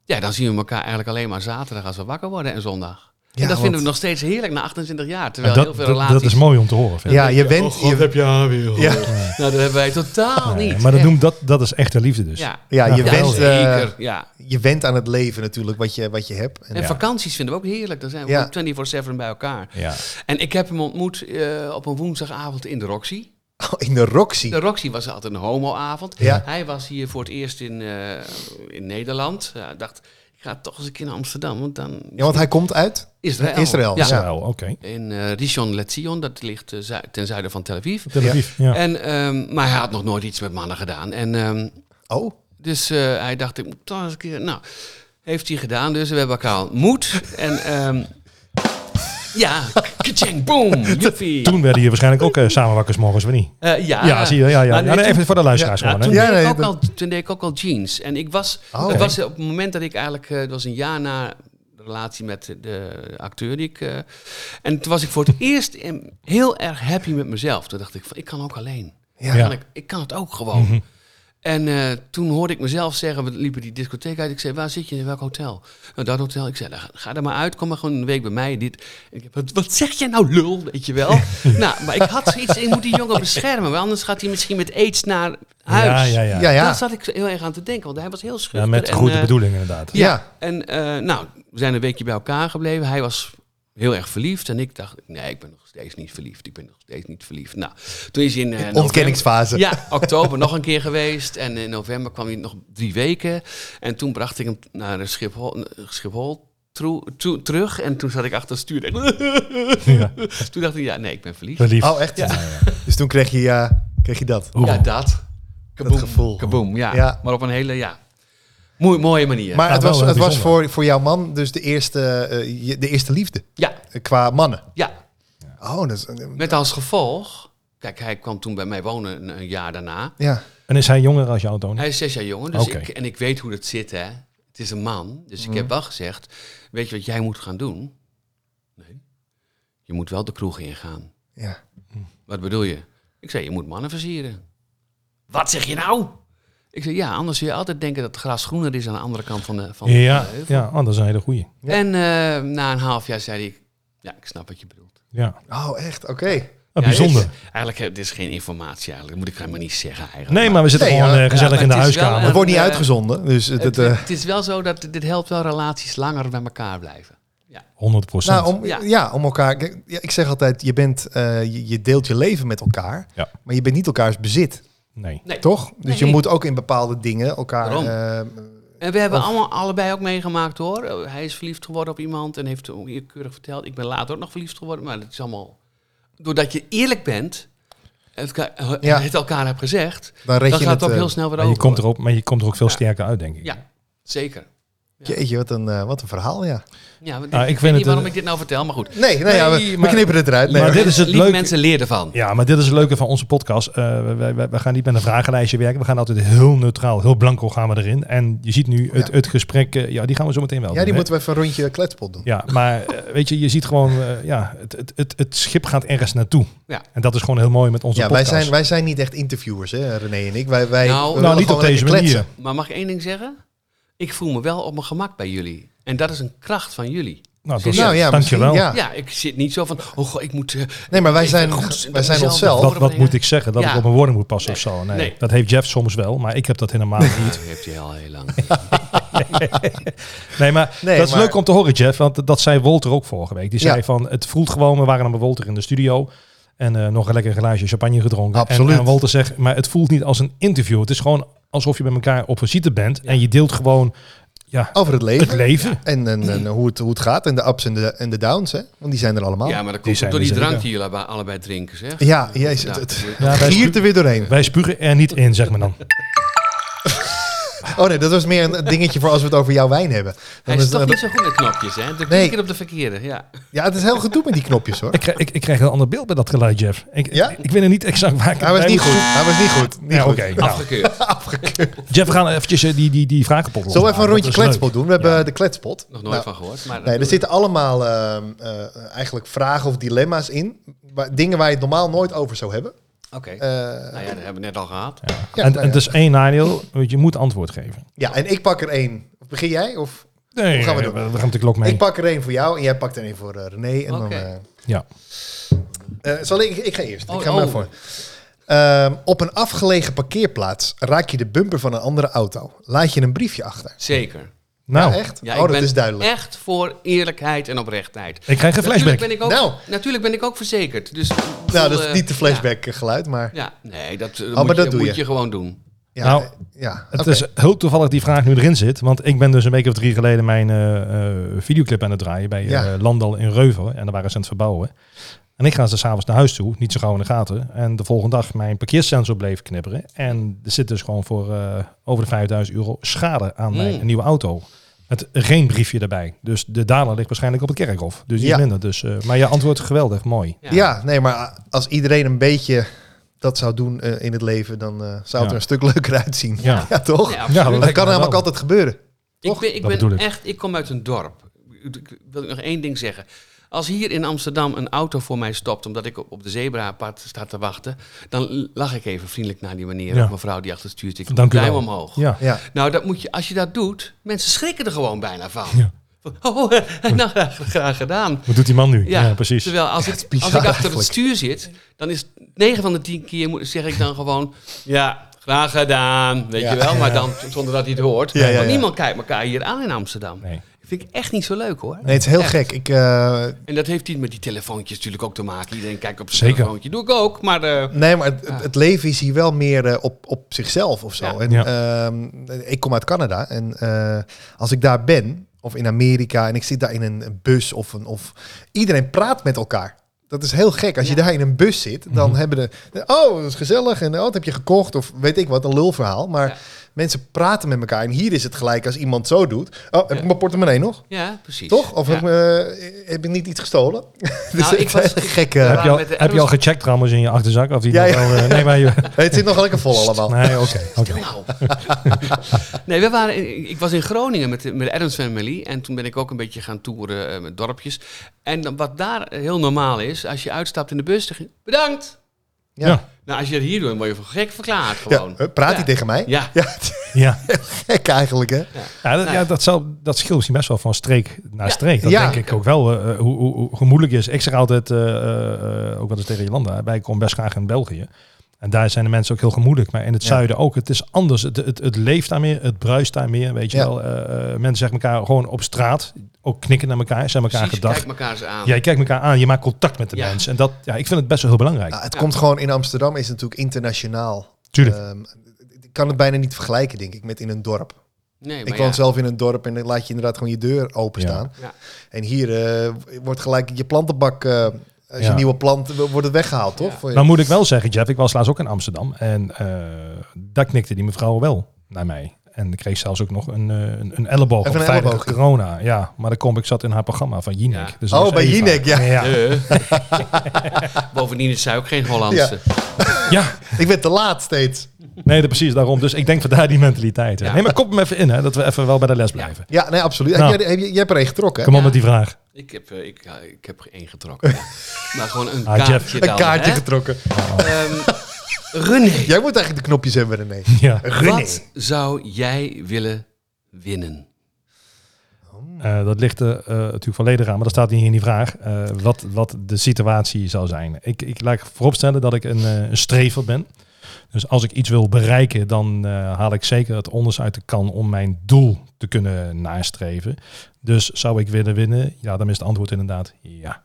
[SPEAKER 4] ja, dan zien we elkaar eigenlijk alleen maar zaterdag als we wakker worden en zondag.
[SPEAKER 1] Ja,
[SPEAKER 4] en dat vinden
[SPEAKER 1] want-
[SPEAKER 4] we nog steeds heerlijk na 28 jaar.
[SPEAKER 3] En
[SPEAKER 4] Terwijl
[SPEAKER 3] dat,
[SPEAKER 4] eh, heel
[SPEAKER 3] dat-
[SPEAKER 4] veel relaties...
[SPEAKER 3] dat is mooi om te horen. Vind ik.
[SPEAKER 1] Ja,
[SPEAKER 4] Oh,
[SPEAKER 1] je bent... je-
[SPEAKER 4] heb je haar weer.
[SPEAKER 1] Ja.
[SPEAKER 4] Nou, dat hebben wij totaal
[SPEAKER 3] Nee,
[SPEAKER 4] niet.
[SPEAKER 3] maar dat,
[SPEAKER 4] Echt.
[SPEAKER 3] noemt, dat, dat is echte liefde dus.
[SPEAKER 4] Ja,
[SPEAKER 1] ja, je
[SPEAKER 3] Ja,
[SPEAKER 1] wenst... eh,
[SPEAKER 4] zeker. ja.
[SPEAKER 1] je went aan het leven natuurlijk, wat je, wat je hebt. En
[SPEAKER 4] En vakanties vinden we ook heerlijk. Dan zijn we
[SPEAKER 1] Ja.
[SPEAKER 4] gewoon 24-7 bij elkaar.
[SPEAKER 3] Ja.
[SPEAKER 4] En ik heb hem ontmoet eh, op een woensdagavond in de Roxy.
[SPEAKER 1] Oh, in de Roxy.
[SPEAKER 4] De Roxy was altijd een homoavond.
[SPEAKER 1] Ja.
[SPEAKER 4] Hij was hier voor het eerst in, eh, in Nederland. Ja, ik dacht, ik ga toch eens een keer naar Amsterdam, want dan
[SPEAKER 1] Ja, want hij komt uit
[SPEAKER 4] Israël.
[SPEAKER 1] Israël.
[SPEAKER 4] Ja.
[SPEAKER 1] Ja.
[SPEAKER 3] Zo, oké.
[SPEAKER 4] In eh Rishon LeZion, dat ligt eh, zu- ten zuiden van Tel Aviv.
[SPEAKER 3] Tel Aviv, ja.
[SPEAKER 4] En, ehm, maar hij had nog nooit iets met mannen gedaan. En ehm,
[SPEAKER 1] Oh,
[SPEAKER 4] Dus eh, hij dacht, ik moet toch eens een keer... Nou, heeft hij gedaan, dus we hebben elkaar ontmoet. en ehm ja, kaching, boom, joepie.
[SPEAKER 3] Toen werden hier waarschijnlijk ook eh samen wakker, 's morgens, of niet?
[SPEAKER 4] Eh, ja,
[SPEAKER 3] ja, zie je. Ja, ja.
[SPEAKER 4] Maar
[SPEAKER 3] ja
[SPEAKER 4] nee,
[SPEAKER 3] nee, even voor de luisteraars
[SPEAKER 4] Ja,
[SPEAKER 3] gewoon.
[SPEAKER 4] toen,
[SPEAKER 3] Hè.
[SPEAKER 1] Ja,
[SPEAKER 4] deed
[SPEAKER 1] nee,
[SPEAKER 4] ik ook
[SPEAKER 1] dat-
[SPEAKER 4] al, toen deed ik ook al jeans. En ik was,
[SPEAKER 1] Oh,
[SPEAKER 4] het
[SPEAKER 1] oké.
[SPEAKER 4] was op het moment dat ik eigenlijk, eh, het was een jaar na de relatie met de acteur die ik. eh, en toen was ik voor het eerst in- heel erg happy met mezelf. Toen dacht ik, van, ik kan ook alleen.
[SPEAKER 1] ja.
[SPEAKER 3] Ja. Mhm.
[SPEAKER 4] Kan ik, ik kan het ook gewoon. En eh, toen hoorde ik mezelf zeggen, we liepen die discotheek uit. Ik zei, waar zit je? In welk hotel? Nou, dat hotel. Ik zei, nou, ga- ga er maar uit. Kom maar gewoon een week bij mij. Dit. En ik heb, wat, wat zeg jij nou, lul? Weet je wel? Nou, maar ik had zoiets, ik moet die jongen beschermen. Want anders gaat hij misschien met aids naar
[SPEAKER 3] Ja,
[SPEAKER 4] huis.
[SPEAKER 3] ja, ja.
[SPEAKER 1] Ja,
[SPEAKER 3] ja.
[SPEAKER 1] ja.
[SPEAKER 4] Daar zat ik heel erg aan te denken, want hij was heel schuchter.
[SPEAKER 3] met
[SPEAKER 4] en,
[SPEAKER 3] goede
[SPEAKER 4] eh,
[SPEAKER 3] bedoelingen inderdaad.
[SPEAKER 1] Ja.
[SPEAKER 4] En eh, nou, we zijn een weekje bij elkaar gebleven. Hij was heel erg verliefd en ik dacht, nee, ik ben nog steeds niet verliefd. Ik ben nog steeds niet verliefd. Nou, toen is hij in... eh, november-
[SPEAKER 1] Ontkenningsfase.
[SPEAKER 4] ja, oktober nog een keer geweest. En in november kwam hij nog drie weken. En toen bracht ik hem naar de Schiphol, Schiphol troe- toe- terug. En toen zat ik achter het stuur. En
[SPEAKER 3] Ja.
[SPEAKER 4] toen dacht ik, ja, nee, ik ben verliefd.
[SPEAKER 3] Verliefd.
[SPEAKER 1] Oh, echt? Dus toen kreeg je, ja, kreeg je dat.
[SPEAKER 3] Oeh.
[SPEAKER 4] Ja, dat. Kaboom,
[SPEAKER 1] gevoel.
[SPEAKER 4] Kaboom, ja.
[SPEAKER 1] Ja.
[SPEAKER 4] Maar op een hele, ja, moe- mooie manier.
[SPEAKER 1] Maar
[SPEAKER 3] Ja,
[SPEAKER 1] het
[SPEAKER 3] wel
[SPEAKER 1] was,
[SPEAKER 3] heel
[SPEAKER 1] het was
[SPEAKER 3] bijzonder.
[SPEAKER 1] voor, voor jouw man dus de eerste, eh, je- de eerste liefde
[SPEAKER 4] ja,
[SPEAKER 1] eh, qua mannen.
[SPEAKER 4] ja.
[SPEAKER 1] Oh, dat is... eh,
[SPEAKER 4] Met als gevolg... Kijk, hij kwam toen bij mij wonen een, een jaar daarna.
[SPEAKER 1] ja.
[SPEAKER 3] En is hij jonger als jou, Tony?
[SPEAKER 4] Hij is zes jaar jonger, dus
[SPEAKER 3] Oké.
[SPEAKER 4] ik, en ik weet hoe dat zit, hè. Het is een man, dus ik heb wel gezegd... Weet je wat jij moet gaan doen? Nee. Je moet wel de kroeg ingaan.
[SPEAKER 1] Ja.
[SPEAKER 4] Wat bedoel je? Ik zei, je moet mannen versieren. Wat zeg je nou? Ik zei, ja, anders zul je altijd denken dat het gras groener is aan de andere kant van de, van
[SPEAKER 3] Ja,
[SPEAKER 4] de heuvel.
[SPEAKER 3] ja, oh, dat is een hele goeie.
[SPEAKER 1] Ja.
[SPEAKER 4] En eh, na een half jaar zei hij, ja, ik snap wat je bedoelt.
[SPEAKER 3] Ja,
[SPEAKER 1] Oh, echt? Oké.
[SPEAKER 3] Ah,
[SPEAKER 4] Ja, dit is-
[SPEAKER 3] bijzonder.
[SPEAKER 4] eigenlijk, eh, dit is geen informatie eigenlijk. Dat moet ik helemaal niet zeggen eigenlijk.
[SPEAKER 3] Nee, maar we zitten
[SPEAKER 1] Nee,
[SPEAKER 3] gewoon
[SPEAKER 1] ja.
[SPEAKER 3] eh, gezellig
[SPEAKER 4] Ja,
[SPEAKER 3] in de
[SPEAKER 4] maar het is wel
[SPEAKER 3] huiskamer.
[SPEAKER 1] Het wordt niet
[SPEAKER 4] eh,
[SPEAKER 1] uitgezonden, dus het...
[SPEAKER 4] Het,
[SPEAKER 1] het, eh,
[SPEAKER 4] het is wel zo dat dit helpt wel relaties langer bij elkaar blijven.
[SPEAKER 3] 100 procent.
[SPEAKER 1] nou, om, ja.
[SPEAKER 4] Ja.
[SPEAKER 1] om elkaar... kijk, Ja, ik zeg altijd, je, bent, eh, je, je deelt je leven met elkaar,
[SPEAKER 3] Ja.
[SPEAKER 1] maar je bent niet elkaars bezit,
[SPEAKER 3] nee.
[SPEAKER 4] Nee.
[SPEAKER 1] toch? Dus je
[SPEAKER 4] Nee.
[SPEAKER 1] moet ook in bepaalde dingen elkaar...
[SPEAKER 4] Daarom.
[SPEAKER 1] eh,
[SPEAKER 4] En we hebben
[SPEAKER 1] Of-
[SPEAKER 4] allemaal, allebei ook meegemaakt hoor. Eh, Hij is verliefd geworden op iemand en heeft toen hier keurig verteld. Ik ben later ook nog verliefd geworden, maar dat is allemaal... Doordat je eerlijk bent, het, ka- eh,
[SPEAKER 1] Ja.
[SPEAKER 4] het elkaar hebt gezegd,
[SPEAKER 1] dan red
[SPEAKER 4] dan
[SPEAKER 1] je
[SPEAKER 4] gaat
[SPEAKER 1] het...
[SPEAKER 4] het
[SPEAKER 1] eh,
[SPEAKER 4] ook heel snel weer
[SPEAKER 3] Maar
[SPEAKER 4] over.
[SPEAKER 3] je, komt er ook, maar je komt er ook veel
[SPEAKER 4] Ja.
[SPEAKER 3] sterker uit, denk ik.
[SPEAKER 4] Ja, zeker. Ja.
[SPEAKER 1] Jeetje, wat een, eh, wat een verhaal, ja.
[SPEAKER 4] Ja, want
[SPEAKER 3] Nou,
[SPEAKER 4] ik,
[SPEAKER 3] ik
[SPEAKER 4] ik
[SPEAKER 3] vind
[SPEAKER 4] weet
[SPEAKER 3] het
[SPEAKER 4] niet waarom
[SPEAKER 3] een-
[SPEAKER 4] ik dit nou vertel, maar goed.
[SPEAKER 1] Nee, nee, ja, we,
[SPEAKER 3] Nee,
[SPEAKER 1] we
[SPEAKER 3] maar-
[SPEAKER 1] knippen het eruit. Nee,
[SPEAKER 3] maar
[SPEAKER 1] hoor.
[SPEAKER 3] dit is het
[SPEAKER 4] Lieve
[SPEAKER 3] leuke.
[SPEAKER 4] mensen, leer ervan.
[SPEAKER 3] Ja, maar dit is het leuke van onze podcast. Eh, wij, wij, wij gaan niet met een vragenlijstje werken. We gaan altijd heel neutraal, heel blanco gaan we erin. En je ziet nu het,
[SPEAKER 1] Ja.
[SPEAKER 3] het gesprek. eh, ja, die gaan we zo meteen wel
[SPEAKER 1] ja,
[SPEAKER 3] doen,
[SPEAKER 1] die
[SPEAKER 3] hè?
[SPEAKER 1] moeten we even een rondje kletspot doen.
[SPEAKER 3] Ja, maar eh, weet je, je ziet gewoon, eh, ja, het, het, het, het schip gaat ergens naartoe.
[SPEAKER 4] Ja.
[SPEAKER 3] En dat is gewoon heel mooi met onze
[SPEAKER 1] Ja, wij
[SPEAKER 3] podcast.
[SPEAKER 1] zijn, wij zijn niet echt interviewers, hè, Eh, René en ik. Wij, wij eh,
[SPEAKER 4] Nou,
[SPEAKER 3] nou,
[SPEAKER 1] we willen
[SPEAKER 3] niet op
[SPEAKER 1] gewoon
[SPEAKER 3] deze
[SPEAKER 1] lekker
[SPEAKER 3] manier.
[SPEAKER 1] kletsen.
[SPEAKER 4] Maar mag ik één ding zeggen? Ik voel me wel op mijn gemak bij jullie. En dat is een kracht van jullie.
[SPEAKER 3] Nou,
[SPEAKER 4] Serieus.
[SPEAKER 1] Nou, ja,
[SPEAKER 3] dankjewel.
[SPEAKER 1] misschien, ja.
[SPEAKER 4] Ja, ik zit niet zo van, oh god, ik moet... eh,
[SPEAKER 1] Nee, maar wij
[SPEAKER 4] Ik
[SPEAKER 1] zijn,
[SPEAKER 4] vind het goed
[SPEAKER 1] wij zijn
[SPEAKER 4] mezelf
[SPEAKER 1] onszelf.
[SPEAKER 4] dat-
[SPEAKER 3] Wat, wat moet ik zeggen? Dat
[SPEAKER 4] Ja.
[SPEAKER 3] ik op mijn woorden moet passen
[SPEAKER 4] Nee.
[SPEAKER 3] of zo? Nee.
[SPEAKER 4] Nee.
[SPEAKER 3] Dat heeft Jeff soms wel, maar ik heb dat helemaal
[SPEAKER 1] Ah.
[SPEAKER 3] niet.
[SPEAKER 4] Dat heeft hij al heel lang.
[SPEAKER 3] Nee, maar
[SPEAKER 1] Nee,
[SPEAKER 3] dat is
[SPEAKER 1] maar-
[SPEAKER 3] leuk om te horen, Jeff. Want dat zei Wolter ook vorige week. Die
[SPEAKER 1] Ja.
[SPEAKER 3] zei van, het voelt gewoon, we waren dan bij Wolter in de studio. En eh, nog een lekker glaasje champagne gedronken. En-
[SPEAKER 1] Absoluut.
[SPEAKER 3] En, Wolter zegt, maar het voelt niet als een interview. Het is gewoon alsof je met elkaar op visite bent. En je deelt gewoon ja,
[SPEAKER 1] Over het leven.
[SPEAKER 3] het leven.
[SPEAKER 1] En, en, en eh, hoe, het, hoe het gaat. En de ups en de, en de downs, hè? Want die zijn dus er allemaal.
[SPEAKER 4] Ja,
[SPEAKER 1] Ja,
[SPEAKER 4] maar dat
[SPEAKER 3] Die
[SPEAKER 4] komt
[SPEAKER 3] zijn
[SPEAKER 4] door
[SPEAKER 3] er
[SPEAKER 4] die
[SPEAKER 3] zeker.
[SPEAKER 4] drank die jullie allebei- allebei drinken, zeg.
[SPEAKER 1] jezus,
[SPEAKER 4] Ja,
[SPEAKER 1] het, het
[SPEAKER 3] Ja, wij,
[SPEAKER 1] giert er weer doorheen.
[SPEAKER 3] spu- wij spugen er niet in, zeg maar dan.
[SPEAKER 1] Oh nee, dat was meer een dingetje voor als we het over jouw wijn hebben. Dan
[SPEAKER 4] Hij
[SPEAKER 1] is-
[SPEAKER 4] is toch
[SPEAKER 1] dan-
[SPEAKER 4] niet zo goed met knopjes, hè? Dan
[SPEAKER 1] Nee.
[SPEAKER 4] klik ik op de verkeerde, ja.
[SPEAKER 1] Ja, het is heel gedoe met die knopjes, hoor.
[SPEAKER 3] Ik krijg, ik, ik krijg een ander beeld bij dat geluid, Jeff. Ik,
[SPEAKER 1] Ja?
[SPEAKER 3] ik, ik weet er niet exact waar ik
[SPEAKER 1] Hij was
[SPEAKER 3] bij
[SPEAKER 1] niet
[SPEAKER 3] moet
[SPEAKER 1] goed. Hij was niet goed. Niet
[SPEAKER 3] zoeken. Ja,
[SPEAKER 1] goed.
[SPEAKER 3] oké. nou.
[SPEAKER 4] Afgekeurd.
[SPEAKER 3] Jeff, we gaan eventjes eh, die, die, die vragenpot
[SPEAKER 1] Zullen we
[SPEAKER 3] losmaken?
[SPEAKER 1] even een rondje
[SPEAKER 3] Nou, Dat is leuk.
[SPEAKER 1] kletspot doen? We hebben de kletspot.
[SPEAKER 4] Nog nooit
[SPEAKER 1] Nou,
[SPEAKER 4] van gehoord. Maar
[SPEAKER 1] Nee, er zitten allemaal ehm, eh, eigenlijk vragen of dilemma's in. Waar, dingen waar je het normaal nooit over zou hebben.
[SPEAKER 4] Oké.
[SPEAKER 1] Eh,
[SPEAKER 4] nou ja, dat hebben we net al gehad.
[SPEAKER 1] Ja,
[SPEAKER 3] en,
[SPEAKER 1] nou
[SPEAKER 3] en
[SPEAKER 1] ja.
[SPEAKER 3] het is één nadeel, want je moet antwoord geven.
[SPEAKER 1] ja, en ik pak er één. Of begin jij? Of
[SPEAKER 3] Nee,
[SPEAKER 1] Hoe gaan we
[SPEAKER 3] eh,
[SPEAKER 1] doen?
[SPEAKER 3] we gaan de klok mee.
[SPEAKER 1] ik pak er één voor jou en jij pakt er één voor eh, René. En dan,
[SPEAKER 4] Oké.
[SPEAKER 1] eh,
[SPEAKER 3] Ja.
[SPEAKER 1] eh, zal ik, ik ga eerst.
[SPEAKER 4] Oh,
[SPEAKER 1] ik ga maar
[SPEAKER 4] oh.
[SPEAKER 1] voor. Ehm, op een afgelegen parkeerplaats raak je de bumper van een andere auto. Laat je een briefje achter.
[SPEAKER 4] Zeker.
[SPEAKER 3] Nou,
[SPEAKER 1] ja, echt?
[SPEAKER 4] Ja,
[SPEAKER 1] oh,
[SPEAKER 4] ik
[SPEAKER 1] dat
[SPEAKER 4] ben
[SPEAKER 1] is duidelijk.
[SPEAKER 4] echt voor eerlijkheid en oprechtheid.
[SPEAKER 3] ik krijg een
[SPEAKER 4] Natuurlijk
[SPEAKER 3] flashback.
[SPEAKER 4] ben ik ook,
[SPEAKER 1] Nou.
[SPEAKER 4] natuurlijk ben ik ook verzekerd. Dus,
[SPEAKER 1] Nou, dat is niet de flashback eh, geluid, maar...
[SPEAKER 4] Ja, ja, nee, dat, eh,
[SPEAKER 1] maar
[SPEAKER 4] moet,
[SPEAKER 1] dat
[SPEAKER 4] je,
[SPEAKER 1] doe
[SPEAKER 4] moet
[SPEAKER 1] je.
[SPEAKER 4] je gewoon doen.
[SPEAKER 1] Ja,
[SPEAKER 3] Nou,
[SPEAKER 1] eh, ja.
[SPEAKER 3] Het
[SPEAKER 1] oké.
[SPEAKER 3] is heel toevallig die vraag nu erin zit. Want ik ben dus een week of drie geleden mijn eh, eh, videoclip aan het draaien bij eh,
[SPEAKER 1] Ja.
[SPEAKER 3] Landal in Reuven. En daar waren ze aan het verbouwen. En ik ga ze s'avonds naar huis toe, niet zo gauw in de gaten. En de volgende dag mijn parkeersensor bleef knipperen. En er zit dus gewoon voor eh, over de 5000 euro schade aan mijn
[SPEAKER 4] Mm.
[SPEAKER 3] nieuwe auto. Met geen briefje erbij. Dus de dader ligt waarschijnlijk op het kerkhof. Dus die
[SPEAKER 1] Ja.
[SPEAKER 3] is minder. Dus, eh, maar je antwoordt geweldig, mooi.
[SPEAKER 1] Ja. nee, maar eh, als iedereen een beetje dat zou doen eh, in het leven, dan eh, zou het
[SPEAKER 3] Ja.
[SPEAKER 1] er een stuk leuker uitzien. Ja,
[SPEAKER 3] Ja.
[SPEAKER 1] toch?
[SPEAKER 4] Ja,
[SPEAKER 3] Ja,
[SPEAKER 1] dat
[SPEAKER 3] lijkt
[SPEAKER 1] kan
[SPEAKER 3] me
[SPEAKER 1] namelijk
[SPEAKER 3] wel.
[SPEAKER 1] altijd gebeuren.
[SPEAKER 4] Ik
[SPEAKER 1] Toch?
[SPEAKER 4] ben, ik
[SPEAKER 3] Dat
[SPEAKER 4] ben
[SPEAKER 3] bedoel ik.
[SPEAKER 4] echt, ik kom uit een dorp. Ik wil nog één ding zeggen. Als hier in Amsterdam een auto voor mij stopt omdat ik op, op de zebrapad sta te wachten, dan lag ik even vriendelijk naar die meneer
[SPEAKER 3] Ja.
[SPEAKER 4] of mevrouw die achter het stuurt. Ik
[SPEAKER 3] Dank u
[SPEAKER 4] duim
[SPEAKER 3] wel.
[SPEAKER 4] omhoog.
[SPEAKER 3] Ja.
[SPEAKER 1] Ja.
[SPEAKER 4] Nou, dat moet je, als je dat doet, mensen schrikken er gewoon bijna van.
[SPEAKER 3] Ja.
[SPEAKER 4] Van, Oh, nou, graag, graag gedaan.
[SPEAKER 3] Wat doet die man nu? Ja,
[SPEAKER 4] Ja,
[SPEAKER 3] precies.
[SPEAKER 4] Terwijl als,
[SPEAKER 1] is
[SPEAKER 4] ik,
[SPEAKER 1] bizar
[SPEAKER 4] als ik achter het
[SPEAKER 1] eigenlijk.
[SPEAKER 4] stuur zit, dan is 9 van de 10 keer moet- zeg ik dan gewoon, ja, graag gedaan, weet
[SPEAKER 1] Ja.
[SPEAKER 4] je wel. Maar dan zonder dat hij het hoort.
[SPEAKER 1] Ja, ja,
[SPEAKER 4] Want
[SPEAKER 1] ja.
[SPEAKER 4] niemand kijkt elkaar hier aan in Amsterdam.
[SPEAKER 3] Nee.
[SPEAKER 4] Dat vind ik echt niet zo leuk hoor.
[SPEAKER 1] Nee, het is heel
[SPEAKER 4] Echt.
[SPEAKER 1] gek. Ik, eh,
[SPEAKER 4] En dat heeft niet met die telefoontjes natuurlijk ook te maken. Iedereen kijkt op zijn
[SPEAKER 3] Zeker.
[SPEAKER 4] telefoontje. Doe ik ook, maar eh,
[SPEAKER 1] nee, maar het, het leven is hier wel meer eh, op, op zichzelf of zo.
[SPEAKER 4] Ja.
[SPEAKER 1] En,
[SPEAKER 3] Ja.
[SPEAKER 1] ehm, ik kom uit Canada en eh, als ik daar ben, of in Amerika, en ik zit daar in een bus of een... Of, iedereen praat met elkaar. Dat is heel gek. Als je
[SPEAKER 4] Ja.
[SPEAKER 1] daar in een bus zit, dan
[SPEAKER 3] Mhm.
[SPEAKER 1] hebben de... de- Oh, dat is gezellig. En oh, dat heb je gekocht. Of weet ik wat, een lulverhaal. Maar
[SPEAKER 4] Ja.
[SPEAKER 1] mensen praten met elkaar. En hier is het gelijk als iemand zo doet. Oh, heb
[SPEAKER 4] Ja.
[SPEAKER 1] ik mijn portemonnee nog?
[SPEAKER 4] ja, precies.
[SPEAKER 1] Toch? Of
[SPEAKER 4] Ja. Nou,
[SPEAKER 1] heb, eh, heb ik niet iets gestolen? dus
[SPEAKER 4] ik
[SPEAKER 1] ik
[SPEAKER 4] was-
[SPEAKER 1] gekke...
[SPEAKER 4] Ja.
[SPEAKER 3] Heb, je al,
[SPEAKER 4] Met de
[SPEAKER 3] heb je al gecheckt trouwens in je achterzak? Of die
[SPEAKER 1] Ja,
[SPEAKER 3] nog
[SPEAKER 1] ja.
[SPEAKER 3] wel, eh, nee, maar je,
[SPEAKER 1] Het zit nog lekker vol allemaal.
[SPEAKER 3] Nee, oké. oké.
[SPEAKER 4] Nou. nee, we waren in- ik was in Groningen met de, met de Adams Family. En toen ben ik ook een beetje gaan toeren eh, met dorpjes. En dan- wat daar heel normaal is, als je uitstapt in de bus, dan ging bedankt.
[SPEAKER 1] Ja.
[SPEAKER 3] Ja.
[SPEAKER 4] Nou, als je dat hier doet, dan word je voor gek verklaard
[SPEAKER 1] Ja,
[SPEAKER 4] gewoon.
[SPEAKER 1] eh, praat hij
[SPEAKER 4] Ja.
[SPEAKER 1] tegen mij?
[SPEAKER 4] Ja.
[SPEAKER 1] Ja, het is
[SPEAKER 3] Ja,
[SPEAKER 1] gek eigenlijk, hè?
[SPEAKER 3] ja, dat, ja dat, zal, dat scheelt misschien best wel van streek naar
[SPEAKER 4] Nou. Ja.
[SPEAKER 3] streek. Dat
[SPEAKER 1] Ja.
[SPEAKER 3] denk ik ook wel, eh, eh, hoe, hoe, hoe gemoeilijk het is. Ik zeg altijd, eh, eh, eh, ook wel eens tegen Jolanda, wij komen best graag in België. En daar zijn de mensen ook heel gemoedelijk. Maar in het
[SPEAKER 1] Ja.
[SPEAKER 3] zuiden ook. Het is anders. Het, het, het leeft daar meer. Het bruist daar meer. Weet je
[SPEAKER 1] Ja.
[SPEAKER 3] wel. Eh, eh, mensen zeggen elkaar gewoon op straat. Ook knikken naar elkaar. Zijn elkaar
[SPEAKER 4] Precies,
[SPEAKER 3] gedacht.
[SPEAKER 4] kijk elkaar eens aan.
[SPEAKER 3] Jij kijkt elkaar aan. Je maakt contact met de
[SPEAKER 4] Ja. Ah,
[SPEAKER 3] mensen. En dat, ja, ik vind het best wel heel belangrijk.
[SPEAKER 1] Nou, het
[SPEAKER 4] Ja.
[SPEAKER 1] komt gewoon in Amsterdam, is het natuurlijk internationaal.
[SPEAKER 3] Tuurlijk.
[SPEAKER 1] Ehm, ik kan het bijna niet vergelijken, denk ik, met in een dorp.
[SPEAKER 4] Nee, maar
[SPEAKER 1] Ik woon
[SPEAKER 4] ja.
[SPEAKER 1] zelf in een dorp en dan laat je inderdaad gewoon je deur openstaan.
[SPEAKER 4] Ja. Ja.
[SPEAKER 1] En hier eh, wordt gelijk je plantenbak, eh, als je
[SPEAKER 3] Ja.
[SPEAKER 1] een nieuwe plant, wo- wordt het weggehaald, toch?
[SPEAKER 4] Ja.
[SPEAKER 1] Voor je-
[SPEAKER 3] Nou moet ik wel zeggen, Jeff, ik was laatst ook in Amsterdam. En eh, daar knikte die mevrouw wel naar mij. En ik kreeg zelfs ook nog een, eh, een, een elleboog
[SPEAKER 1] Even
[SPEAKER 3] op
[SPEAKER 1] een
[SPEAKER 3] veilige
[SPEAKER 1] elleboog.
[SPEAKER 3] corona. Ja, maar dan kom ik zat in haar programma van Jinek.
[SPEAKER 4] Ja.
[SPEAKER 3] Dus
[SPEAKER 1] Oh,
[SPEAKER 3] dat was
[SPEAKER 1] bij
[SPEAKER 3] Eva.
[SPEAKER 1] Jinek, ja.
[SPEAKER 3] Ja,
[SPEAKER 4] Eh. Bovendien is zij ook geen Hollandse.
[SPEAKER 3] ja.
[SPEAKER 1] Ik ben te laat steeds.
[SPEAKER 3] nee, dat, precies daarom. Dus ik denk vandaar die mentaliteit. hè.
[SPEAKER 4] Ja.
[SPEAKER 3] Nee, maar kop hem even in, hè, dat we even wel bij de les blijven.
[SPEAKER 1] Ja, nee, absoluut.
[SPEAKER 3] Nou.
[SPEAKER 1] Heb jij, heb je, jij hebt er één getrokken, hè?
[SPEAKER 3] Kom op met die vraag.
[SPEAKER 4] Ik, heb, eh, ik, ja, ik heb één getrokken. ja. maar gewoon een
[SPEAKER 3] Ah, Jeff.
[SPEAKER 4] kaartje dan,
[SPEAKER 1] Een kaartje
[SPEAKER 4] hè.
[SPEAKER 1] getrokken.
[SPEAKER 4] Ehm, René.
[SPEAKER 1] Jij moet eigenlijk de knopjes hebben, René.
[SPEAKER 3] Ja.
[SPEAKER 1] René.
[SPEAKER 4] Wat zou jij willen winnen?
[SPEAKER 3] Eh, dat ligt eh eh, natuurlijk volledig aan, maar dat staat niet in die vraag. eh, wat, wat de situatie zou zijn. Ik, ik laat ik vooropstellen dat ik een, eh, een strever ben. Dus als ik iets wil bereiken, dan eh, haal ik zeker het onderste uit de kan om mijn doel te kunnen nastreven. Dus zou ik willen winnen? Ja, dan is het antwoord inderdaad ja.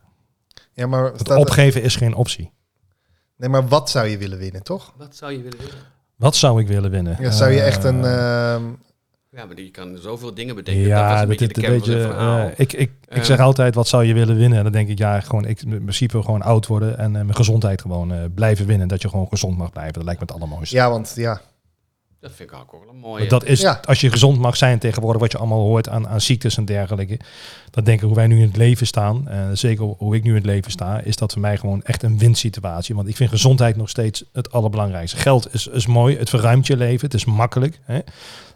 [SPEAKER 1] Ja, maar,
[SPEAKER 3] Het
[SPEAKER 1] staat er-
[SPEAKER 3] opgeven is geen optie.
[SPEAKER 1] nee, maar wat zou je willen winnen, toch?
[SPEAKER 4] Wat zou je willen winnen?
[SPEAKER 3] Wat zou ik willen winnen?
[SPEAKER 1] Ja, zou je echt een...
[SPEAKER 3] Eh,
[SPEAKER 1] ehm,
[SPEAKER 4] Ja, maar die kan zoveel dingen bedenken. dat was
[SPEAKER 3] ja,
[SPEAKER 4] een
[SPEAKER 3] dat
[SPEAKER 4] beetje
[SPEAKER 3] is
[SPEAKER 4] de
[SPEAKER 3] een
[SPEAKER 4] kern van
[SPEAKER 3] beetje.
[SPEAKER 4] het verhaal.
[SPEAKER 3] eh, ik, ik, ik
[SPEAKER 4] Eh.
[SPEAKER 3] zeg altijd, wat zou je willen winnen? En dan denk ik, ja, gewoon, ik in principe gewoon oud worden en eh, mijn gezondheid gewoon eh, blijven winnen. Dat je gewoon gezond mag blijven. Dat lijkt me het allermooiste.
[SPEAKER 1] ja, want ja.
[SPEAKER 4] dat vind ik ook wel een mooie.
[SPEAKER 3] Dat is,
[SPEAKER 1] Ja.
[SPEAKER 3] als je gezond mag zijn tegenwoordig, wat je allemaal hoort aan, aan ziektes en dergelijke. Dan denk ik hoe wij nu in het leven staan, eh, zeker hoe ik nu in het leven sta, is dat voor mij gewoon echt een winsituatie. Want ik vind gezondheid nog steeds het allerbelangrijkste. Geld is, is mooi, het verruimt je leven, het is makkelijk. Hè?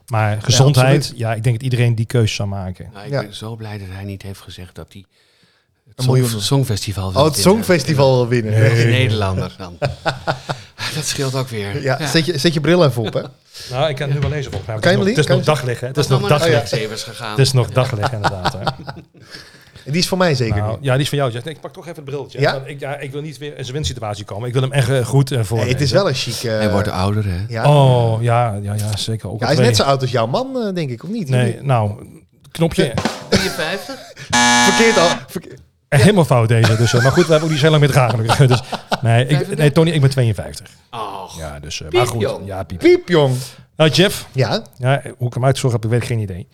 [SPEAKER 3] Maar gezondheid, ja, ik denk dat iedereen die keuze zou maken.
[SPEAKER 4] Nou, ik
[SPEAKER 1] Ja.
[SPEAKER 4] ben zo blij dat hij niet heeft gezegd dat hij het
[SPEAKER 1] Een
[SPEAKER 4] song-
[SPEAKER 1] miljoen.
[SPEAKER 4] Songfestival wil
[SPEAKER 1] Oh, het
[SPEAKER 4] winnen.
[SPEAKER 1] Songfestival wil winnen.
[SPEAKER 4] Ja,
[SPEAKER 1] Echt.
[SPEAKER 4] Een Nederlander dan. dat scheelt ook weer.
[SPEAKER 1] Ja, Zet, je, zet je bril even op, hè?
[SPEAKER 3] Nou, ik kan nu wel lezen opgaan.
[SPEAKER 1] Kan je hem
[SPEAKER 3] Het is
[SPEAKER 1] lien-
[SPEAKER 3] nog
[SPEAKER 1] kan
[SPEAKER 3] dagliggen. Het
[SPEAKER 4] Dat
[SPEAKER 3] is
[SPEAKER 4] is nog
[SPEAKER 3] nog
[SPEAKER 4] maar
[SPEAKER 3] dagliggen.
[SPEAKER 4] naar Xavier's gegaan.
[SPEAKER 3] Het is nog dagliggen, inderdaad. Hè.
[SPEAKER 1] Die is voor mij zeker
[SPEAKER 3] Nou,
[SPEAKER 1] niet.
[SPEAKER 3] ja, die is van jou. Jack. Nee, ik pak toch even het briltje.
[SPEAKER 1] Ja?
[SPEAKER 3] Want ik, ja, ik wil niet weer in zo'n winsituatie komen. Ik wil hem echt eh, goed eh, voor.
[SPEAKER 1] Nee, het is wel een chic... eh,
[SPEAKER 4] Hij wordt ouder, hè?
[SPEAKER 1] ja.
[SPEAKER 3] Oh, ja, ja, ja zeker. Ook
[SPEAKER 1] Ja,
[SPEAKER 3] al
[SPEAKER 1] hij
[SPEAKER 3] twee.
[SPEAKER 1] is net zo oud als jouw man, eh, denk ik, of niet?
[SPEAKER 3] Nee, nou, knopje.
[SPEAKER 4] 53?
[SPEAKER 1] Verkeerd al. verkeer-
[SPEAKER 3] Helemaal fout deze. Dus, eh, maar goed, we hebben ook niet zo heel lang met elkaar gelukkig. Dus, nee, ik, nee, Tony, ik ben 52.
[SPEAKER 4] Oh,
[SPEAKER 3] Ja, dus, eh, maar
[SPEAKER 4] Piep,
[SPEAKER 3] goed.
[SPEAKER 4] joh.
[SPEAKER 3] Ja, piep.
[SPEAKER 1] Piep, jong.
[SPEAKER 3] Nou, Jeff,
[SPEAKER 1] Ja,
[SPEAKER 3] ja, hoe ik hem uitgezocht heb, ik weet geen idee.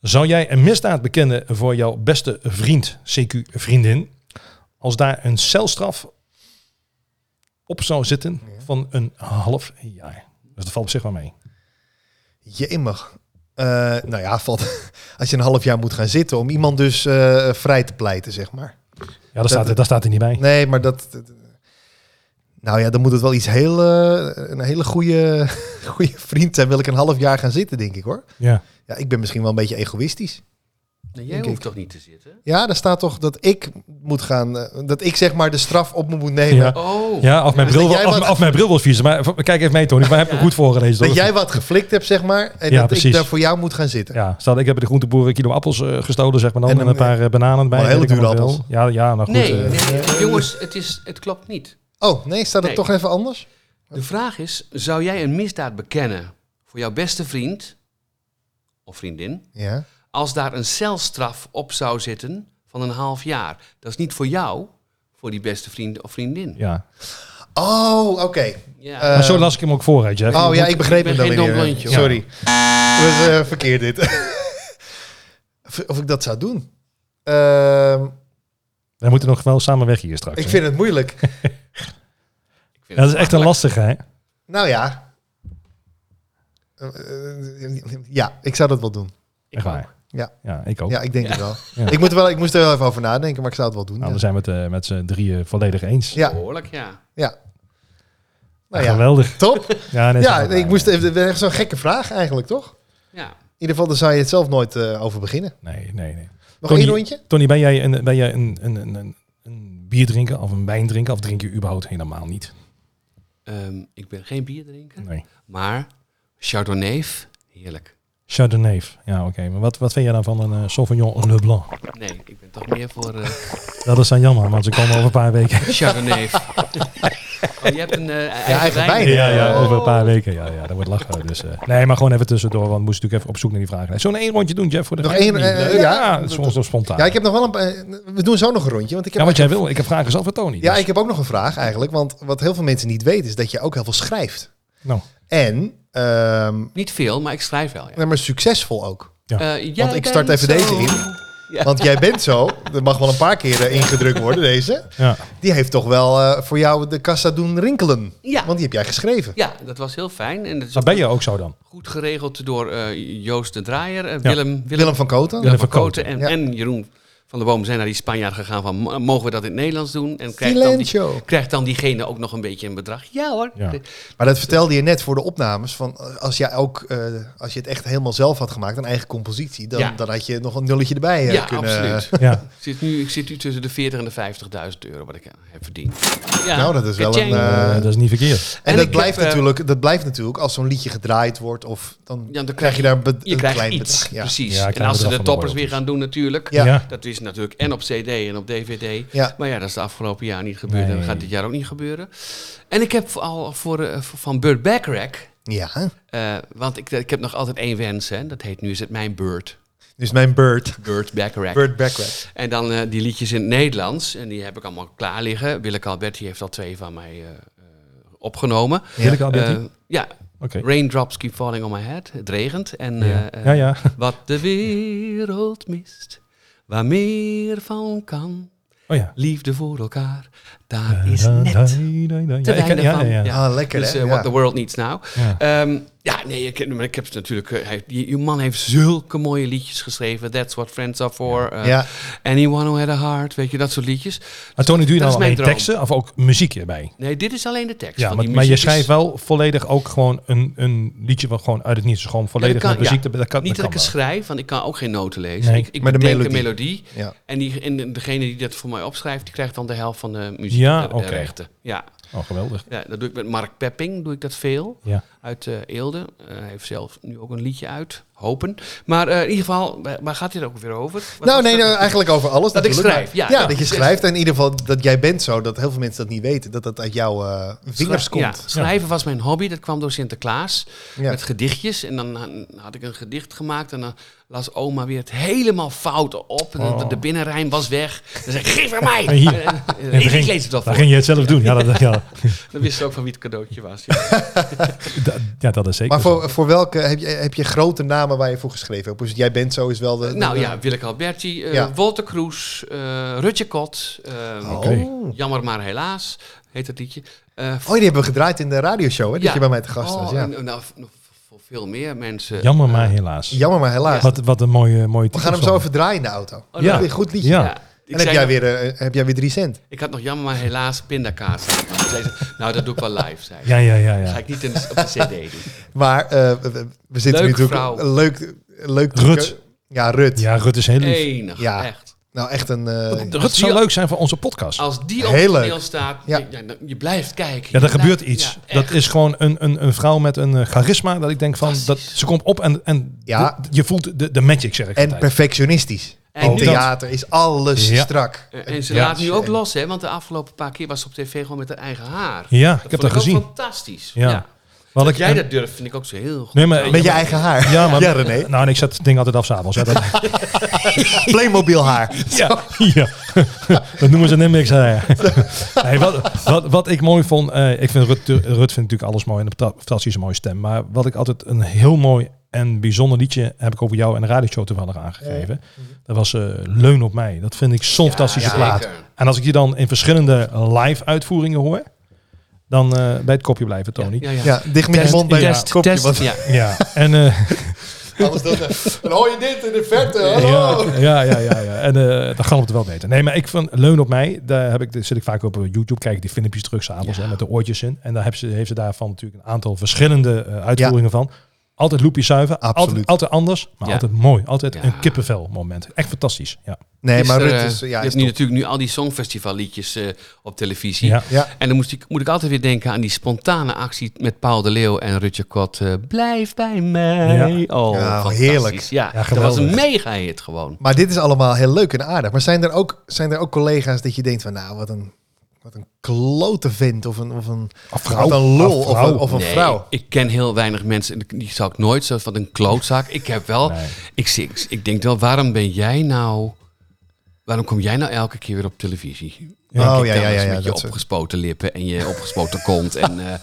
[SPEAKER 3] Zou jij een misdaad bekennen voor jouw beste vriend, CQ vriendin, als daar een celstraf op zou zitten van een half jaar? Dus dat valt op zich wel mee.
[SPEAKER 1] jemig. Eh nou ja, valt, als je een half jaar moet gaan zitten om iemand dus eh, vrij te pleiten, zeg maar.
[SPEAKER 3] Ja, dat, staat, er- dat staat er niet bij.
[SPEAKER 1] Nee, maar dat... dat- Nou ja, dan moet het wel iets heel, eh, een hele goede, goede vriend zijn. Wil ik een half jaar gaan zitten, denk ik hoor.
[SPEAKER 3] Ja.
[SPEAKER 1] Ja, ik ben misschien wel een beetje egoïstisch.
[SPEAKER 4] nee, jij
[SPEAKER 1] Denk
[SPEAKER 4] hoeft
[SPEAKER 1] ik.
[SPEAKER 4] toch niet te zitten?
[SPEAKER 1] Ja, daar staat toch dat ik moet gaan, eh, dat ik zeg maar de straf op me moet nemen.
[SPEAKER 3] Ja.
[SPEAKER 4] Oh,
[SPEAKER 3] Ja, of mijn,
[SPEAKER 1] Dus
[SPEAKER 3] bril,
[SPEAKER 1] dat jij
[SPEAKER 3] of,
[SPEAKER 1] wat-
[SPEAKER 3] of mijn bril was vies. Maar v- kijk even mee, Tony. Maar heb ik goed voorgelezen.
[SPEAKER 1] Dat
[SPEAKER 3] hoor.
[SPEAKER 1] jij wat geflikt hebt, zeg maar. En
[SPEAKER 3] Ja,
[SPEAKER 1] dat
[SPEAKER 3] precies.
[SPEAKER 1] ik daar voor jou moet gaan zitten.
[SPEAKER 3] Ja, stel ik heb bij de groenteboer een kilo appels eh, gestolen, zeg maar dan.
[SPEAKER 1] En
[SPEAKER 3] En,
[SPEAKER 1] dan,
[SPEAKER 3] een paar eh, bananen bij.
[SPEAKER 1] maar hele
[SPEAKER 3] weet ik
[SPEAKER 1] dure
[SPEAKER 3] allemaal
[SPEAKER 1] appels.
[SPEAKER 3] wel. Ja, ja, nou goed.
[SPEAKER 4] nee,
[SPEAKER 3] eh,
[SPEAKER 4] nee, jongens, het, is, het klopt niet.
[SPEAKER 1] Oh, nee, staat het
[SPEAKER 4] Nee.
[SPEAKER 1] toch even anders?
[SPEAKER 4] De vraag is, zou jij een misdaad bekennen voor jouw beste vriend of vriendin...
[SPEAKER 1] Ja.
[SPEAKER 4] als daar een celstraf op zou zitten van een half jaar. Dat is niet voor jou, voor die beste vriend of vriendin.
[SPEAKER 3] ja.
[SPEAKER 1] Oh, oké.
[SPEAKER 4] Ja.
[SPEAKER 1] Eh,
[SPEAKER 3] Maar zo las ik hem ook voor, hè, Jeff.
[SPEAKER 1] oh ja, ik begreep
[SPEAKER 4] ik
[SPEAKER 1] het
[SPEAKER 4] ben geen
[SPEAKER 1] wel
[SPEAKER 4] dom
[SPEAKER 1] weer.
[SPEAKER 4] blondje, hoor.
[SPEAKER 1] Sorry. Dat is eh, verkeerd dit. Of- of ik dat zou doen? Ehm,
[SPEAKER 3] Wij moeten nog wel samen weg hier straks.
[SPEAKER 1] ik
[SPEAKER 3] hè.
[SPEAKER 1] vind het moeilijk.
[SPEAKER 4] Ik
[SPEAKER 3] Ja, dat
[SPEAKER 4] vind het
[SPEAKER 3] is echt een
[SPEAKER 4] makkelijk.
[SPEAKER 3] lastige, hè?
[SPEAKER 1] Nou ja. Eh, eh, ja, ik zou dat wel doen.
[SPEAKER 3] Echt waar.
[SPEAKER 1] Ja.
[SPEAKER 3] Ja, ik ook.
[SPEAKER 1] Ja, ik denk het wel.
[SPEAKER 3] Ja.
[SPEAKER 1] Ik, moet er wel. ik moest er wel even over nadenken, maar ik zou het wel doen.
[SPEAKER 3] Nou,
[SPEAKER 1] ja.
[SPEAKER 3] dan zijn we het eh, met z'n drieën volledig eens.
[SPEAKER 1] Ja.
[SPEAKER 4] Behoorlijk, ja.
[SPEAKER 1] Nou ja,
[SPEAKER 3] Geweldig.
[SPEAKER 1] top.
[SPEAKER 3] Ja, nee, eh,
[SPEAKER 1] Ja,
[SPEAKER 3] dat is
[SPEAKER 1] ik
[SPEAKER 3] waar.
[SPEAKER 1] moest even, echt zo'n gekke vraag eigenlijk, toch?
[SPEAKER 4] ja.
[SPEAKER 1] In ieder geval, daar zou je het zelf nooit eh, over beginnen.
[SPEAKER 3] Nee, nee, nee.
[SPEAKER 1] Nog
[SPEAKER 3] Tony-
[SPEAKER 1] één rondje?
[SPEAKER 3] Tony, ben jij een, ben jij een, een, een, een, een bier drinken of een wijn drinken? Of drink je überhaupt helemaal niet?
[SPEAKER 4] Ehm, ik ben geen bier drinken,
[SPEAKER 3] Nee.
[SPEAKER 4] maar Chardonnay, heerlijk.
[SPEAKER 3] Chardonnay. Ja, oké. Maar wat, wat vind jij dan van een eh, Sauvignon Le Blanc?
[SPEAKER 4] Nee, ik ben toch meer voor eh
[SPEAKER 3] Dat is dan jammer, want ze komen over een paar weken.
[SPEAKER 4] Chardonnay. oh, je hebt een eh eigen,
[SPEAKER 1] eigen
[SPEAKER 4] wijn.
[SPEAKER 1] wijn,
[SPEAKER 3] Ja, ja,
[SPEAKER 4] Oh.
[SPEAKER 3] over een paar weken. Ja, ja, dat wordt lachen. Dus, eh, nee, maar gewoon even tussendoor, want we moesten natuurlijk even op zoek naar die vragen. Zo'n één rondje doen, Jeff, voor de
[SPEAKER 1] Nog
[SPEAKER 3] gein
[SPEAKER 1] één,
[SPEAKER 3] niet.
[SPEAKER 1] eh,
[SPEAKER 3] ja,
[SPEAKER 1] ja.
[SPEAKER 3] dat is ons nog spontaan.
[SPEAKER 1] Ja,
[SPEAKER 3] Ja,
[SPEAKER 1] ik heb nog wel een paar. eh, We doen zo nog een rondje. Want ik heb
[SPEAKER 3] wat jij wil. Ik heb vragen zelf voor Tony.
[SPEAKER 1] Ja,
[SPEAKER 3] dus-
[SPEAKER 1] ik heb ook nog een vraag eigenlijk. Want wat heel veel mensen niet weten is dat je ook heel veel schrijft.
[SPEAKER 3] nou,
[SPEAKER 1] En, ehm,
[SPEAKER 4] Niet veel, maar ik schrijf wel. Ja.
[SPEAKER 1] nee, maar succesvol ook.
[SPEAKER 4] Eh, jij
[SPEAKER 1] Want ik start
[SPEAKER 4] bent
[SPEAKER 1] even
[SPEAKER 4] zo-
[SPEAKER 1] deze in.
[SPEAKER 4] Ja.
[SPEAKER 1] Want jij bent zo, er mag wel een paar keer eh, ingedrukt worden deze.
[SPEAKER 3] ja.
[SPEAKER 1] Die heeft toch wel eh, voor jou de kassa doen rinkelen.
[SPEAKER 4] Ja.
[SPEAKER 1] Want die heb jij geschreven.
[SPEAKER 4] ja, dat was heel fijn. En dat is
[SPEAKER 3] Dan ben je ook zo dan.
[SPEAKER 4] goed geregeld door eh, Joost de Draaier, eh,
[SPEAKER 3] Ja.
[SPEAKER 4] Willem, Willem
[SPEAKER 1] Willem van Koten.
[SPEAKER 3] Ja.
[SPEAKER 4] Willem van
[SPEAKER 3] Verkoten.
[SPEAKER 4] Koten en,
[SPEAKER 1] Ja.
[SPEAKER 4] en Jeroen van der Boom zijn naar die Spanjaard gegaan van "M- mogen we dat in het Nederlands doen? En krijgt dan, die,
[SPEAKER 1] Silencio.
[SPEAKER 4] krijgt dan diegene ook nog een beetje een bedrag? Ja hoor.
[SPEAKER 3] Ja.
[SPEAKER 4] De-
[SPEAKER 1] Maar dat vertelde je net voor de opnames. Van eh, als jij ook, eh, als je het echt helemaal zelf had gemaakt, een eigen compositie, dan,
[SPEAKER 4] Ja.
[SPEAKER 1] dan had je nog een nulletje erbij eh,
[SPEAKER 4] ja,
[SPEAKER 1] kunnen.
[SPEAKER 4] absoluut.
[SPEAKER 3] Ja.
[SPEAKER 4] Ik zit, nu, ik zit nu tussen de 40 en de 50.000 euro wat ik eh, heb verdiend. Ja.
[SPEAKER 1] Nou, dat is wel
[SPEAKER 4] Ka-ching.
[SPEAKER 1] een, eh,
[SPEAKER 3] Eh, dat is niet verkeerd.
[SPEAKER 1] En,
[SPEAKER 4] En
[SPEAKER 1] dat,
[SPEAKER 4] ik
[SPEAKER 1] blijft
[SPEAKER 4] heb, eh,
[SPEAKER 1] natuurlijk, dat blijft natuurlijk als zo'n liedje gedraaid wordt. Of dan,
[SPEAKER 4] Ja, dan
[SPEAKER 1] krijg je daar een be-
[SPEAKER 4] Je
[SPEAKER 1] een
[SPEAKER 4] krijgt
[SPEAKER 1] klein
[SPEAKER 4] iets, Dus-
[SPEAKER 1] bedrag. Ja.
[SPEAKER 4] precies.
[SPEAKER 3] Ja,
[SPEAKER 4] en
[SPEAKER 3] klein
[SPEAKER 4] als ze
[SPEAKER 3] bedrag van
[SPEAKER 4] de
[SPEAKER 3] de
[SPEAKER 4] toppers weer
[SPEAKER 3] royalties.
[SPEAKER 4] gaan doen natuurlijk.
[SPEAKER 1] Ja.
[SPEAKER 3] Ja.
[SPEAKER 4] Dat is natuurlijk en op cd en op dvd.
[SPEAKER 1] Ja.
[SPEAKER 4] Maar ja, dat is de afgelopen jaar niet gebeurd. En dat
[SPEAKER 3] Nee.
[SPEAKER 4] gaat dit jaar ook niet gebeuren. En ik heb al voor, eh, voor- van Burt Bacharach...
[SPEAKER 1] ja,
[SPEAKER 4] Eh, want ik, ik heb nog altijd één wens, hè. Dat heet nu is het mijn beurt.
[SPEAKER 1] dus mijn Bird.
[SPEAKER 4] Beurt Bacharach.
[SPEAKER 1] Bird Backrack.
[SPEAKER 4] En dan eh, die liedjes in het Nederlands. En die heb ik allemaal klaar liggen. Willeke Alberti heeft al twee van mij eh, eh, opgenomen.
[SPEAKER 1] Ja.
[SPEAKER 3] Wil ik al, Bertie?
[SPEAKER 4] Eh, ja,
[SPEAKER 3] Oké.
[SPEAKER 4] Raindrops keep falling on my head. Het regent. En
[SPEAKER 3] Ja.
[SPEAKER 4] eh, eh,
[SPEAKER 3] ja, ja.
[SPEAKER 4] wat de wereld mist, waar meer van kan.
[SPEAKER 3] Oh ja.
[SPEAKER 4] Liefde voor elkaar, daar is net
[SPEAKER 3] Ja, ja, ja.
[SPEAKER 4] te
[SPEAKER 3] Ik ken-
[SPEAKER 4] weinig
[SPEAKER 3] ja,
[SPEAKER 4] van.
[SPEAKER 3] ja, ja.
[SPEAKER 4] Ja.
[SPEAKER 1] Ah, lekker
[SPEAKER 4] Dus
[SPEAKER 1] hè?
[SPEAKER 4] eh,
[SPEAKER 1] Ja.
[SPEAKER 4] What the World Needs Now.
[SPEAKER 3] Ja.
[SPEAKER 4] Ehm, ja, nee, ik, maar ik heb het natuurlijk. eh, hij- die- die man heeft zulke mooie liedjes geschreven. That's what friends are for. eh,
[SPEAKER 1] Ja.
[SPEAKER 4] Anyone who had a heart. Weet je, dat soort liedjes.
[SPEAKER 3] Maar Tony, doe je
[SPEAKER 4] Dat
[SPEAKER 3] nou
[SPEAKER 4] is mijn
[SPEAKER 3] alleen
[SPEAKER 4] droom.
[SPEAKER 3] teksten of ook muziek erbij?
[SPEAKER 4] Nee, dit is alleen de tekst.
[SPEAKER 3] Ja,
[SPEAKER 4] van
[SPEAKER 3] maar,
[SPEAKER 4] die
[SPEAKER 3] maar je
[SPEAKER 4] muziek is-
[SPEAKER 3] schrijft wel volledig ook gewoon een, een liedje wat gewoon uit het niets is. Gewoon
[SPEAKER 4] Ja, dat
[SPEAKER 3] volledig
[SPEAKER 4] kan-
[SPEAKER 3] met muziek.
[SPEAKER 4] ja.
[SPEAKER 3] Dat, dat kan,
[SPEAKER 4] Niet dat,
[SPEAKER 3] kan
[SPEAKER 4] ik het
[SPEAKER 3] wel.
[SPEAKER 4] schrijf, want ik kan ook geen noten lezen.
[SPEAKER 3] Nee.
[SPEAKER 4] Ik, ik
[SPEAKER 1] Maar de
[SPEAKER 4] bedenk een
[SPEAKER 1] melodie.
[SPEAKER 4] melodie.
[SPEAKER 1] Ja.
[SPEAKER 4] En, die, en degene die dat voor mij opschrijft, die krijgt dan de helft van de muziek.
[SPEAKER 3] Ja,
[SPEAKER 4] de- de
[SPEAKER 3] oké.
[SPEAKER 4] rechten. Ja.
[SPEAKER 3] Oh, geweldig.
[SPEAKER 4] ja, dat doe ik met Mark Pepping. Doe ik dat veel.
[SPEAKER 3] Ja.
[SPEAKER 4] uit eh, Eelde. Eh, hij heeft zelf nu ook een liedje uit, Hopen. Maar eh, in ieder geval, waar waar gaat dit ook weer over? Wat
[SPEAKER 1] Nou,
[SPEAKER 4] was
[SPEAKER 1] nee,
[SPEAKER 4] dat?
[SPEAKER 1] nou, eigenlijk over alles.
[SPEAKER 4] Dat ik
[SPEAKER 1] natuurlijk.
[SPEAKER 4] schrijf, ja.
[SPEAKER 1] ja.
[SPEAKER 4] Ja,
[SPEAKER 1] dat je
[SPEAKER 4] precies.
[SPEAKER 1] schrijft. En in ieder geval dat jij bent zo, dat heel veel mensen dat niet weten. Dat dat uit jouw eh, vingers
[SPEAKER 4] Schrij-
[SPEAKER 1] komt.
[SPEAKER 4] Ja, schrijven was mijn hobby. Dat kwam door Sinterklaas.
[SPEAKER 1] Ja.
[SPEAKER 4] Met gedichtjes. En dan ha- had ik een gedicht gemaakt. En dan las oma weer het helemaal fout op. En
[SPEAKER 1] Oh.
[SPEAKER 4] de, de binnenrijn was weg. Dan zei ik, geef hem mij!
[SPEAKER 3] En hier.
[SPEAKER 4] Eh, eh,
[SPEAKER 3] En daar
[SPEAKER 4] ik
[SPEAKER 3] ging-
[SPEAKER 4] lees het
[SPEAKER 3] Dan
[SPEAKER 4] al voor.
[SPEAKER 3] ging je het zelf doen. Ja, dat, ja,
[SPEAKER 4] Dan wist ze ook van wie het cadeautje was. Ja.
[SPEAKER 3] dat, ja, dat is zeker.
[SPEAKER 1] Maar
[SPEAKER 3] zo.
[SPEAKER 1] voor, voor welke heb je, heb je grote namen waar je voor geschreven hebt? Dus jij bent zo is wel de. de-
[SPEAKER 4] nou
[SPEAKER 1] de-
[SPEAKER 4] ja, Willeke Alberti, eh,
[SPEAKER 1] Ja.
[SPEAKER 4] Walter Kroes, eh Rutje Kot. eh,
[SPEAKER 1] Oh.
[SPEAKER 3] Oké.
[SPEAKER 4] Jammer maar helaas, heet dat liedje. Eh,
[SPEAKER 1] Oh, die hebben we gedraaid in de radioshow, hè? Dat
[SPEAKER 4] Ja.
[SPEAKER 1] je bij mij te gast was.
[SPEAKER 4] Oh,
[SPEAKER 1] Ja.
[SPEAKER 4] en, eh, nou, v- nog voor veel meer mensen.
[SPEAKER 3] Jammer, maar
[SPEAKER 4] Eh,
[SPEAKER 3] helaas.
[SPEAKER 1] Jammer, maar helaas.
[SPEAKER 3] Wat, wat een mooie, mooie
[SPEAKER 1] We gaan hem zo even draaien in de auto.
[SPEAKER 4] Oh,
[SPEAKER 3] Ja.
[SPEAKER 1] Weer een goed liedje.
[SPEAKER 3] Ja.
[SPEAKER 4] Ik,
[SPEAKER 1] En heb
[SPEAKER 4] zei
[SPEAKER 1] jij,
[SPEAKER 4] nog-
[SPEAKER 1] weer, eh, heb jij weer drie cent?
[SPEAKER 4] ik had nog jammer, maar helaas pindakaas. Zei ze, nou, dat doe ik wel live, zei ze.
[SPEAKER 3] Ja, ja, ja.
[SPEAKER 4] Dat ga
[SPEAKER 3] ja.
[SPEAKER 4] ik niet in, op de cd doen.
[SPEAKER 1] Maar eh, we- we, we zitten
[SPEAKER 4] Leuke
[SPEAKER 1] nu natuurlijk...
[SPEAKER 4] vrouw.
[SPEAKER 1] een Leuk, leuk
[SPEAKER 3] Rut.
[SPEAKER 1] Ja, Rut.
[SPEAKER 3] Ja, Rut is heel lief.
[SPEAKER 4] Enig,
[SPEAKER 1] Ja.
[SPEAKER 4] echt.
[SPEAKER 1] Nou, echt een... eh,
[SPEAKER 3] Rut zou leuk zijn voor onze podcast.
[SPEAKER 4] Als die op
[SPEAKER 1] Heel
[SPEAKER 4] het
[SPEAKER 1] leuk.
[SPEAKER 4] toneel staat,
[SPEAKER 1] Ja.
[SPEAKER 4] je, ja, dan- je blijft kijken.
[SPEAKER 3] Ja,
[SPEAKER 4] Je
[SPEAKER 3] er gebeurt
[SPEAKER 4] blijft-
[SPEAKER 3] iets.
[SPEAKER 4] ja, echt.
[SPEAKER 3] dat is gewoon een, een, een vrouw met een eh, charisma. Dat ik denk van, dat,
[SPEAKER 4] Fantastisch.
[SPEAKER 3] ze komt op en, en
[SPEAKER 1] Ja.
[SPEAKER 3] de- je voelt de, de magic, zeg ik
[SPEAKER 1] en
[SPEAKER 3] altijd.
[SPEAKER 1] perfectionistisch.
[SPEAKER 4] En
[SPEAKER 1] In
[SPEAKER 4] nu-
[SPEAKER 1] theater is alles
[SPEAKER 3] Ja.
[SPEAKER 1] strak.
[SPEAKER 4] Eh, En ze
[SPEAKER 3] Ja.
[SPEAKER 4] laat nu ook los, hè? Want de afgelopen paar keer was ze op tv gewoon met haar eigen haar.
[SPEAKER 3] Ja, ik heb
[SPEAKER 4] vond
[SPEAKER 3] dat
[SPEAKER 4] ook
[SPEAKER 3] gezien.
[SPEAKER 4] Fantastisch.
[SPEAKER 3] Ja.
[SPEAKER 4] Ja.
[SPEAKER 3] Wat
[SPEAKER 4] Dat
[SPEAKER 3] ik-
[SPEAKER 4] jij
[SPEAKER 3] en-
[SPEAKER 4] dat durft, vind ik ook zo heel goed.
[SPEAKER 3] Nee, maar,
[SPEAKER 1] Met je eigen haar.
[SPEAKER 3] Ja, maar,
[SPEAKER 1] René.
[SPEAKER 3] Nou, en ik zet het ding altijd af s'avonds. hè. Dat-
[SPEAKER 1] Playmobil haar.
[SPEAKER 3] Ja, ja. dat noemen ze Nimmix. Nee, wat, wat, wat ik mooi vond, eh, ik vind Rut, Rut vindt natuurlijk alles mooi en een pta- fantastische mooie stem. Maar wat ik altijd een heel mooi en bijzonder liedje heb ik over jou en de radioshow toevallig aangegeven. Dat was eh, Leun op mij. Dat vind ik zo'n fantastische
[SPEAKER 4] ja,
[SPEAKER 3] plaat.
[SPEAKER 4] zeker.
[SPEAKER 3] En als ik die dan in verschillende live uitvoeringen hoor, dan eh, bij het kopje blijven, Tony. Ja,
[SPEAKER 4] Ja, ja.
[SPEAKER 1] Ja, dicht met je
[SPEAKER 3] Test,
[SPEAKER 1] mond bij
[SPEAKER 4] Test,
[SPEAKER 1] je kopje.
[SPEAKER 4] test,
[SPEAKER 1] want
[SPEAKER 4] ja.
[SPEAKER 3] en... eh,
[SPEAKER 1] anders dan, dan hoor je dit in de verte. Hallo.
[SPEAKER 3] Ja, ja, ja, ja, ja. En eh dat gaat het wel beter. Nee, maar ik van Leun op mij, daar heb ik, daar zit ik vaak op eh, YouTube, kijk ik die filmpjes terug s'avonds
[SPEAKER 4] Ja.
[SPEAKER 3] hè, met de oortjes in. En daar heb ze, heeft ze daarvan natuurlijk een aantal verschillende eh, uitvoeringen van. Altijd loopje zuiver,
[SPEAKER 1] Absoluut.
[SPEAKER 3] altijd, altijd anders, maar
[SPEAKER 4] Ja.
[SPEAKER 3] altijd mooi. Altijd
[SPEAKER 4] Ja.
[SPEAKER 3] een kippenvel moment. Echt fantastisch. Ja.
[SPEAKER 1] Nee, maar
[SPEAKER 4] Gisteren,
[SPEAKER 1] Rut is...
[SPEAKER 4] eh,
[SPEAKER 1] Ja,
[SPEAKER 4] je
[SPEAKER 1] is
[SPEAKER 4] hebt nu
[SPEAKER 1] top.
[SPEAKER 4] natuurlijk nu al die songfestivalliedjes eh op televisie.
[SPEAKER 3] Ja.
[SPEAKER 1] ja.
[SPEAKER 4] En dan moest ik, moet ik altijd weer denken aan die spontane actie met Paul de Leeuw en Rutje Kot. eh, Blijf bij mij.
[SPEAKER 3] Ja.
[SPEAKER 4] Oh,
[SPEAKER 1] Ja,
[SPEAKER 4] fantastisch.
[SPEAKER 1] heerlijk.
[SPEAKER 4] Ja, dat
[SPEAKER 3] geweldig.
[SPEAKER 4] was een mega hit gewoon.
[SPEAKER 1] Maar dit is allemaal heel leuk en aardig. Maar zijn er ook, zijn er ook collega's dat je denkt van... Nou, wat een, wat een klote vent. Of een, of een,
[SPEAKER 3] Of vrouw.
[SPEAKER 1] Wat een lul.
[SPEAKER 3] Of
[SPEAKER 1] Of,
[SPEAKER 3] vrouw.
[SPEAKER 1] een, of een
[SPEAKER 4] Nee,
[SPEAKER 1] vrouw.
[SPEAKER 4] Ik ken heel weinig mensen, en die zou ik nooit zo van een klootzak. Ik heb wel,
[SPEAKER 3] Nee.
[SPEAKER 4] ik, zie- ik, ik denk wel, waarom ben jij nou, waarom kom jij nou elke keer weer op televisie?
[SPEAKER 1] Ja.
[SPEAKER 4] Denk
[SPEAKER 1] Oh, ja,
[SPEAKER 4] ik dan
[SPEAKER 1] ja,
[SPEAKER 4] eens
[SPEAKER 1] ja, ja,
[SPEAKER 4] Met je
[SPEAKER 1] dat soort-
[SPEAKER 4] opgespoten lippen en je opgespoten kont en eh,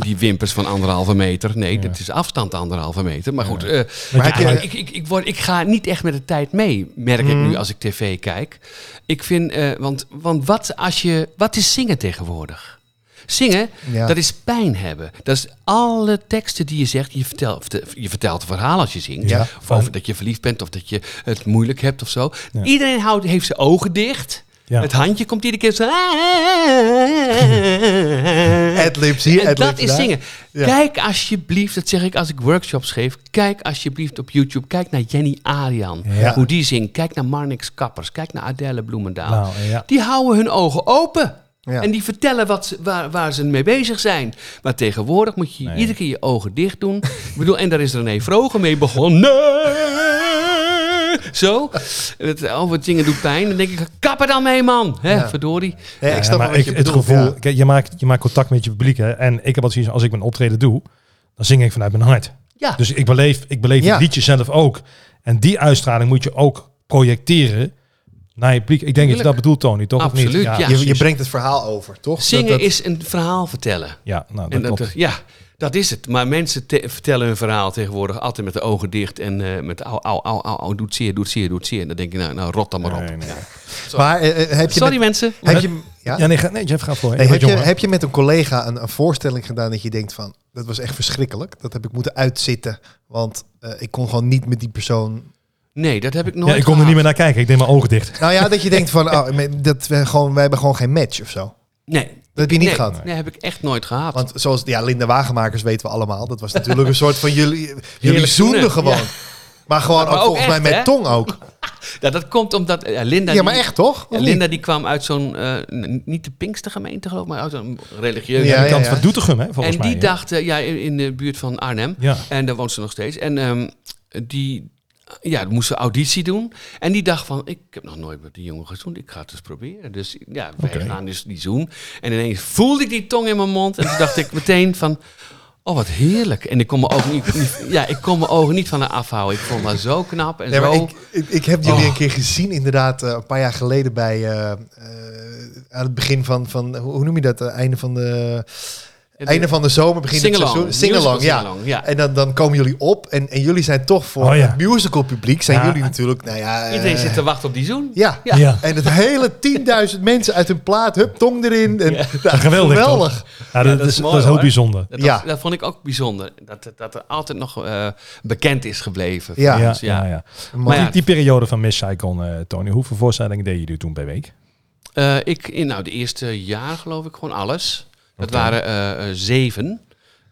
[SPEAKER 4] die wimpers van anderhalve meter. Nee, dat is afstand anderhalve meter. Maar goed, eh,
[SPEAKER 1] Maar heb
[SPEAKER 4] ja,
[SPEAKER 1] je- Mhm.
[SPEAKER 4] ik, ik, ik, word, ik ga niet echt met de tijd mee, merk ik nu als ik tv kijk. Ik vind, eh, want, want wat, als je, wat is zingen tegenwoordig? Zingen,
[SPEAKER 1] Ja.
[SPEAKER 4] dat is pijn hebben. Dat is alle teksten die je zegt. Je vertelt, je vertelt een verhaal als je zingt.
[SPEAKER 1] Ja.
[SPEAKER 4] Of over dat je verliefd bent of dat je het moeilijk hebt of zo.
[SPEAKER 3] Ja.
[SPEAKER 4] Iedereen houdt, heeft zijn ogen dicht.
[SPEAKER 3] Ja.
[SPEAKER 4] Het handje komt iedere keer zo.
[SPEAKER 1] Adlibs hier,
[SPEAKER 4] En
[SPEAKER 1] adlibs
[SPEAKER 4] dat is
[SPEAKER 1] daar.
[SPEAKER 4] zingen.
[SPEAKER 1] Ja.
[SPEAKER 4] Kijk alsjeblieft, dat zeg ik als ik workshops geef. Kijk alsjeblieft op YouTube. Kijk naar Jenny Arian.
[SPEAKER 3] Ja.
[SPEAKER 4] Hoe die zingt. Kijk naar Marnix Kappers. Kijk naar Adele Bloemendaal.
[SPEAKER 3] Nou, ja.
[SPEAKER 4] Die houden hun ogen open.
[SPEAKER 1] Ja.
[SPEAKER 4] En die vertellen wat ze, waar, waar ze mee bezig zijn. Maar tegenwoordig moet je iedere keer je ogen dicht doen. Ik bedoel, en daar is René Vrogen mee begonnen. Zo. En Het, oh, wat zingen doet pijn. Dan denk ik, kap er dan mee, man. Hè,
[SPEAKER 1] Ja.
[SPEAKER 4] Verdorie.
[SPEAKER 1] Ja, ik snap
[SPEAKER 3] maar
[SPEAKER 1] wel wat
[SPEAKER 3] ik-
[SPEAKER 1] je
[SPEAKER 3] het
[SPEAKER 1] bedoelt.
[SPEAKER 3] gevoel,
[SPEAKER 1] ja.
[SPEAKER 3] kijk, je, maakt, je maakt contact met je publiek. Hè, en ik heb altijd zoiets, als ik mijn optreden doe, dan zing ik vanuit mijn hart.
[SPEAKER 4] Ja.
[SPEAKER 3] Dus ik beleef, ik beleef
[SPEAKER 1] Ja.
[SPEAKER 3] het liedje zelf ook. En die uitstraling moet je ook projecteren Naar je publiek. Ik denk dat je dat
[SPEAKER 4] Tuurlijk.
[SPEAKER 3] bedoelt, Tony, toch? Of niet?
[SPEAKER 4] Absoluut, ja.
[SPEAKER 1] je, je
[SPEAKER 4] precies.
[SPEAKER 1] brengt het verhaal over, toch? Dat-
[SPEAKER 4] Zingen
[SPEAKER 1] dat-
[SPEAKER 4] is een verhaal vertellen.
[SPEAKER 3] Ja, nou, dat
[SPEAKER 4] En dat, eh,
[SPEAKER 3] klopt.
[SPEAKER 4] ja, dat is het. Maar mensen te- vertellen hun verhaal tegenwoordig altijd met de ogen dicht en eh, met au, au, au, au, au, doet zeer, doet zeer, doet zeer. En dan denk je, nou, nou rot dan maar op.
[SPEAKER 3] Nee, nee.
[SPEAKER 1] Maar eh, eh, heb je...
[SPEAKER 4] Sorry
[SPEAKER 1] met-
[SPEAKER 4] mensen.
[SPEAKER 1] heb je, ja?
[SPEAKER 3] Ja, nee, ga, nee, Jeff, ga voor.
[SPEAKER 1] Nee,
[SPEAKER 3] Ik
[SPEAKER 1] heb,
[SPEAKER 3] word
[SPEAKER 1] je,
[SPEAKER 3] jonger.
[SPEAKER 1] heb je met een collega een, een voorstelling gedaan dat je denkt van, dat was echt verschrikkelijk. Dat heb ik moeten uitzitten, want eh, ik kon gewoon niet met die persoon...
[SPEAKER 4] Nee, dat heb ik nooit
[SPEAKER 3] ja, ik kon er niet
[SPEAKER 4] gehad.
[SPEAKER 3] meer naar kijken. Ik deed mijn ogen dicht.
[SPEAKER 1] Nou ja, dat je denkt van, oh, maar dat we gewoon, wij hebben gewoon geen match of zo. Dat
[SPEAKER 4] Nee,
[SPEAKER 1] heb je niet
[SPEAKER 4] nee,
[SPEAKER 1] gehad.
[SPEAKER 4] Nee, heb ik echt nooit gehad.
[SPEAKER 1] Want zoals ja, Linda Wagenmakers weten we allemaal, dat was natuurlijk een soort van jullie, jullie
[SPEAKER 4] Heerlijk
[SPEAKER 1] zoenden
[SPEAKER 4] zoenen,
[SPEAKER 1] gewoon.
[SPEAKER 4] ja.
[SPEAKER 1] Maar gewoon
[SPEAKER 4] Maar
[SPEAKER 1] ook
[SPEAKER 4] ook
[SPEAKER 1] volgens mij
[SPEAKER 4] echt,
[SPEAKER 1] met
[SPEAKER 4] hè?
[SPEAKER 1] tong ook.
[SPEAKER 4] Ja, dat komt omdat ja, Linda...
[SPEAKER 1] Ja, maar
[SPEAKER 4] die-
[SPEAKER 1] echt toch?
[SPEAKER 4] ja,
[SPEAKER 1] Of
[SPEAKER 4] Linda die kwam uit zo'n, eh, n- niet de Pinkstergemeente geloof ik, maar uit zo'n religieuze...
[SPEAKER 1] Ja,
[SPEAKER 3] Aan de
[SPEAKER 1] ja,
[SPEAKER 3] kant
[SPEAKER 1] ja.
[SPEAKER 3] van Doetinchem, hè, volgens
[SPEAKER 4] en die
[SPEAKER 3] mij. hè.
[SPEAKER 4] dacht, eh, ja, in, in de buurt van Arnhem.
[SPEAKER 3] Ja.
[SPEAKER 4] En daar woont ze nog steeds. En ehm, die ja, die moest ze auditie doen. En die dacht van, ik heb nog nooit met die jongen gezoend. Ik ga het eens proberen. Dus ja, wij
[SPEAKER 3] Oké.
[SPEAKER 4] gaan dus die zoen. En ineens voelde ik die tong in mijn mond. En toen dacht ik meteen van... Oh, wat heerlijk. En ik kon mijn ogen niet, niet- ja, ik kon mijn ogen niet van haar afhouden. Ik vond haar zo knap en
[SPEAKER 1] Nee, maar
[SPEAKER 4] zo...
[SPEAKER 1] ik, ik, ik heb jullie
[SPEAKER 4] Oh.
[SPEAKER 1] een keer gezien, inderdaad, eh, een paar jaar geleden bij eh, eh, aan het begin van, van hoe hoe noem je dat? eh, einde van de einde van de zomer, begin van het
[SPEAKER 4] Sing-along.
[SPEAKER 1] seizoen. Singalong,
[SPEAKER 4] Musical
[SPEAKER 1] ja.
[SPEAKER 4] sing-along, ja.
[SPEAKER 1] En dan, dan komen jullie op en, en jullie zijn toch voor
[SPEAKER 3] Oh, ja.
[SPEAKER 1] het musical publiek zijn
[SPEAKER 3] Ja.
[SPEAKER 1] jullie natuurlijk, nou ja. eh,
[SPEAKER 4] Iedereen zit te wachten op die zoen.
[SPEAKER 1] ja.
[SPEAKER 4] Ja.
[SPEAKER 3] Ja.
[SPEAKER 1] En het hele 10.000 mensen uit hun plaat, hup, tong erin. En, nou, Ja,
[SPEAKER 3] Geweldig, toch?
[SPEAKER 1] geweldig.
[SPEAKER 3] Ja, dat, is,
[SPEAKER 4] mooi,
[SPEAKER 3] dat is heel
[SPEAKER 4] hoor.
[SPEAKER 3] bijzonder.
[SPEAKER 4] Dat,
[SPEAKER 1] Ja.
[SPEAKER 4] dat, dat vond ik ook bijzonder. Dat, dat, dat er altijd nog eh, bekend is gebleven.
[SPEAKER 1] Ja.
[SPEAKER 4] van
[SPEAKER 3] Ja,
[SPEAKER 4] ons,
[SPEAKER 3] ja,
[SPEAKER 4] ja.
[SPEAKER 3] ja.
[SPEAKER 4] Maar ja,
[SPEAKER 3] Die, die periode van Miss Cycon, eh, Tony, hoeveel voorstellingen deed je toen per week?
[SPEAKER 4] eh, ik, in, nou, de eerste jaar geloof ik gewoon alles. Dat waren eh, eh, zeven.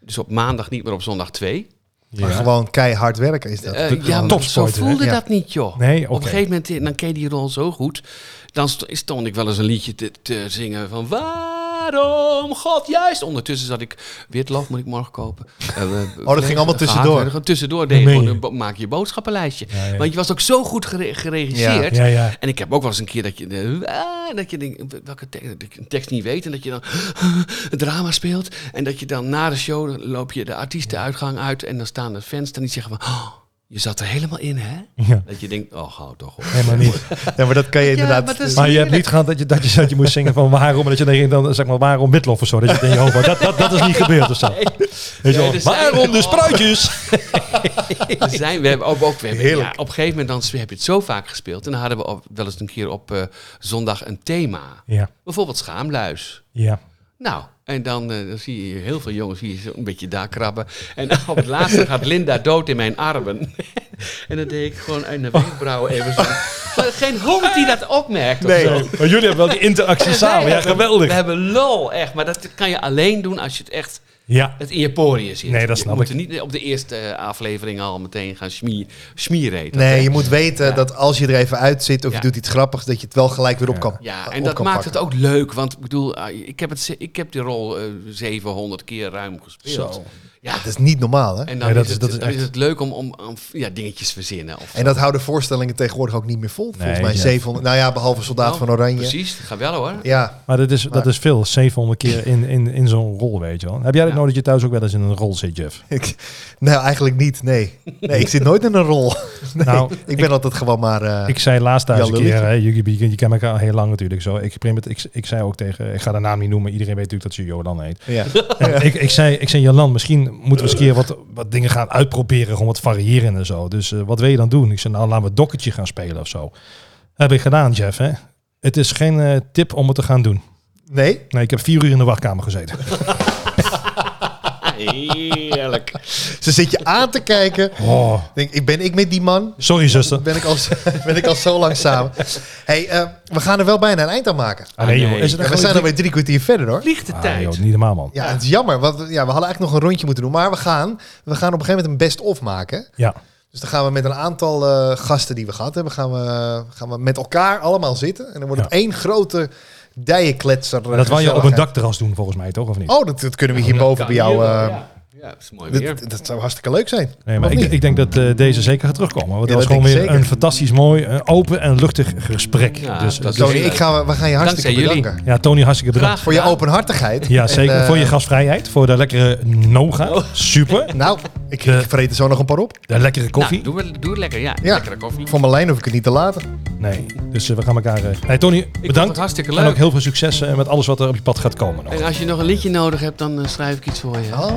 [SPEAKER 4] Dus op maandag niet, maar op zondag twee.
[SPEAKER 1] Maar
[SPEAKER 3] Ja.
[SPEAKER 1] gewoon keihard werken is dat.
[SPEAKER 4] Eh,
[SPEAKER 1] Gewoon-
[SPEAKER 4] ja, maar zo
[SPEAKER 3] topsport, hè?
[SPEAKER 4] voelde
[SPEAKER 1] Ja.
[SPEAKER 4] dat niet, joh.
[SPEAKER 3] Nee, oké.
[SPEAKER 4] Op een gegeven moment, eh, dan ken je die rol zo goed. Dan st- stond ik wel eens een liedje te, te zingen van... Waarom God juist? Ondertussen zat ik... Witlof moet ik morgen kopen. Eh,
[SPEAKER 3] Oh,
[SPEAKER 4] we-
[SPEAKER 1] allemaal
[SPEAKER 4] gehaakt
[SPEAKER 1] tussendoor.
[SPEAKER 4] werden. Tussendoor deed je
[SPEAKER 3] meen
[SPEAKER 4] gewoon,
[SPEAKER 3] je.
[SPEAKER 4] een bo- maak je een boodschappenlijstje.
[SPEAKER 3] Ja, ja.
[SPEAKER 4] Want je was ook zo goed gere- geregisseerd.
[SPEAKER 3] Ja, ja.
[SPEAKER 4] En ik heb ook wel eens een keer dat je, eh, ah, dat je denkt, welke tekst, dat ik een tekst niet weet. En dat je dan een drama speelt. En dat je dan na de show dan loop je de artiestenuitgang uit. En dan staan er fans en die zeggen van, oh, je zat er helemaal in, hè?
[SPEAKER 3] Ja.
[SPEAKER 4] Dat je denkt, oh, hou toch op.
[SPEAKER 3] Helemaal niet.
[SPEAKER 1] Ja, maar dat kan je inderdaad.
[SPEAKER 4] maar dat is-
[SPEAKER 3] Maar je hebt niet gehad dat je, dat je, dat je moest zingen van waarom, en dat je denkt dan zeg maar waarom witlof of zo. Dat je het in je hoofd houdt. dat, dat, dat is niet gebeurd of zo. Weet je wel,
[SPEAKER 4] er zijn-
[SPEAKER 3] waarom de
[SPEAKER 4] oh.
[SPEAKER 3] spruitjes?
[SPEAKER 4] Er zijn, we hebben ook, ook we hebben,
[SPEAKER 1] Heerlijk.
[SPEAKER 4] ja, op een gegeven moment dan s- heb je het zo vaak gespeeld. En dan hadden we op- wel eens een keer op eh, zondag een thema.
[SPEAKER 3] Ja,
[SPEAKER 4] Bijvoorbeeld schaamluis.
[SPEAKER 3] ja.
[SPEAKER 4] Nou, en dan, eh, dan zie je heel veel jongens hier zo een beetje daar krabben. En op het laatste gaat Linda dood in mijn armen. en dan deed ik gewoon uit de
[SPEAKER 3] Oh.
[SPEAKER 4] wenkbrauwen even zo. Maar geen hond die dat opmerkt. of zo.
[SPEAKER 3] Oh, Maar jullie hebben wel die interactie samen.
[SPEAKER 4] Wij
[SPEAKER 3] Ja,
[SPEAKER 4] hebben- We
[SPEAKER 3] geweldig.
[SPEAKER 4] hebben lol, echt. Maar dat kan je alleen doen als je het echt
[SPEAKER 3] Ja,
[SPEAKER 4] het in je poriën zit.
[SPEAKER 3] Nee, dat snap
[SPEAKER 4] je moet
[SPEAKER 3] ik.
[SPEAKER 4] er niet op de eerste eh, aflevering al meteen gaan schmier, schmieren. heet dat, hè?
[SPEAKER 1] Nee, je moet weten dat als je er even uit zit of
[SPEAKER 4] Ja.
[SPEAKER 1] je doet iets grappigs, dat je het wel gelijk weer op kan.
[SPEAKER 4] Ja,
[SPEAKER 1] op
[SPEAKER 4] en dat
[SPEAKER 1] kan
[SPEAKER 4] maakt
[SPEAKER 1] pakken.
[SPEAKER 4] het ook leuk. Want ik bedoel, ah, ik heb, het, ze- ik heb die rol eh, 700 keer ruim gespeeld.
[SPEAKER 3] Zo.
[SPEAKER 4] Ja,
[SPEAKER 1] Dat is niet normaal, hè?
[SPEAKER 4] en dan,
[SPEAKER 3] Nee, dat
[SPEAKER 4] is,
[SPEAKER 3] is-
[SPEAKER 4] het,
[SPEAKER 3] dat is
[SPEAKER 4] dan is
[SPEAKER 3] echt-
[SPEAKER 4] het leuk om, om, om, ja, dingetjes te verzinnen. Of
[SPEAKER 1] En dat houden voorstellingen tegenwoordig ook niet meer vol. Volgens
[SPEAKER 3] Nee,
[SPEAKER 1] mij
[SPEAKER 3] ja.
[SPEAKER 1] 700. Nou ja, behalve Soldaat
[SPEAKER 4] Nou,
[SPEAKER 1] van Oranje.
[SPEAKER 4] Precies, dat gaat wel hoor.
[SPEAKER 1] Ja.
[SPEAKER 3] maar dat is, dat is veel. 700 keer in, in, in zo'n rol, weet je wel. Heb jij dat
[SPEAKER 4] Ja.
[SPEAKER 3] nodig dat je thuis ook wel eens in een rol zit, Jeff?
[SPEAKER 1] Ik, nou, eigenlijk niet. Nee. nee, ik zit nooit in een rol. Nee,
[SPEAKER 3] Nou,
[SPEAKER 1] ik ben altijd gewoon maar. eh,
[SPEAKER 3] Ik zei laatst thuis
[SPEAKER 1] Ja,
[SPEAKER 3] een
[SPEAKER 1] lulletje.
[SPEAKER 3] keer, hè, je, je, je kent elkaar al heel lang natuurlijk zo. Ik, prim het, ik, ik zei ook tegen, ik ga de naam niet noemen, iedereen weet natuurlijk dat ze Jolan heet.
[SPEAKER 1] ja.
[SPEAKER 3] En ik, ik zei, ik zei Jalan, misschien moeten we eens een keer wat, wat dingen gaan uitproberen, gewoon wat variëren en zo. Dus eh, wat wil je dan doen? Ik zei, nou laten we dokketje gaan spelen of zo. Heb ik gedaan, Jeff. Hè? Het is geen eh, tip om het te gaan doen.
[SPEAKER 1] Nee?
[SPEAKER 3] Nee, ik heb vier uur in de wachtkamer gezeten.
[SPEAKER 4] Heerlijk.
[SPEAKER 1] Ze zit je aan te kijken.
[SPEAKER 3] Oh,
[SPEAKER 1] Denk, ik ben ik met die man?
[SPEAKER 3] sorry zuster.
[SPEAKER 1] Ben ik al, ben ik al zo lang samen? hey, eh, we gaan er wel bijna een eind aan maken.
[SPEAKER 3] Ah, nee,
[SPEAKER 4] Ah, nee.
[SPEAKER 3] joh, is het echt
[SPEAKER 1] Ja, we
[SPEAKER 3] gewoon-
[SPEAKER 1] zijn alweer drie kwartier verder hoor.
[SPEAKER 4] Vliegt de
[SPEAKER 3] Ah,
[SPEAKER 4] tijd.
[SPEAKER 3] joh, niet normaal man.
[SPEAKER 1] Ja, het is jammer. Want we- ja, we hadden eigenlijk nog een rondje moeten doen. Maar we gaan, we gaan op een gegeven moment een best-of maken.
[SPEAKER 3] Ja,
[SPEAKER 1] Dus dan gaan we met een aantal eh, gasten die we gehad hebben... gaan we, gaan we met elkaar allemaal zitten. En dan wordt het één grote dijenkletser. eh,
[SPEAKER 3] maar dat wou je op een
[SPEAKER 1] gezelligheid.
[SPEAKER 3] dakterras doen volgens mij toch, of niet?
[SPEAKER 1] Oh, dat, dat kunnen we hierboven
[SPEAKER 4] Kan
[SPEAKER 1] bij jou...
[SPEAKER 4] hier wel,
[SPEAKER 1] eh,
[SPEAKER 4] ja. ja, dat is mooi
[SPEAKER 1] dat-
[SPEAKER 4] weer.
[SPEAKER 1] dat, zou hartstikke leuk zijn.
[SPEAKER 3] Nee, maar
[SPEAKER 1] Of
[SPEAKER 3] ik,
[SPEAKER 1] niet?
[SPEAKER 3] ik denk dat eh, deze zeker gaat terugkomen. Want dat
[SPEAKER 1] Ja,
[SPEAKER 3] was
[SPEAKER 1] dat
[SPEAKER 3] gewoon
[SPEAKER 1] denk
[SPEAKER 3] weer
[SPEAKER 1] ik zeker.
[SPEAKER 3] een fantastisch mooi, eh, open en luchtig gesprek.
[SPEAKER 4] Ja,
[SPEAKER 3] dus,
[SPEAKER 4] dat-
[SPEAKER 3] dus-
[SPEAKER 1] Tony, ik ga, we gaan je hartstikke
[SPEAKER 4] Dankzij jullie.
[SPEAKER 1] bedanken.
[SPEAKER 3] ja, Tony, hartstikke bedankt.
[SPEAKER 4] Graag
[SPEAKER 1] Voor je
[SPEAKER 4] gedaan.
[SPEAKER 1] openhartigheid.
[SPEAKER 3] Ja, zeker.
[SPEAKER 1] En, eh,
[SPEAKER 3] voor je gastvrijheid, voor de lekkere Noga. Super.
[SPEAKER 1] Nou, Ik,
[SPEAKER 3] De-
[SPEAKER 1] ik vreet er zo nog een paar op.
[SPEAKER 3] De lekkere koffie.
[SPEAKER 4] Oh. Nou, doe, het- doe het lekker, ja.
[SPEAKER 1] Ja.
[SPEAKER 4] Lekkere koffie.
[SPEAKER 1] Van mijn lijn hoef ik het niet te laten.
[SPEAKER 3] Nee, dus eh, we gaan elkaar... eh, Hey Tony,
[SPEAKER 4] Ik vond het
[SPEAKER 3] bedankt.
[SPEAKER 4] hartstikke
[SPEAKER 3] En ook
[SPEAKER 4] leuk.
[SPEAKER 3] heel veel succes eh, met alles wat er op je pad gaat komen nog.
[SPEAKER 4] En als je nog een liedje nodig hebt, dan eh, schrijf ik iets voor je.
[SPEAKER 1] Oh,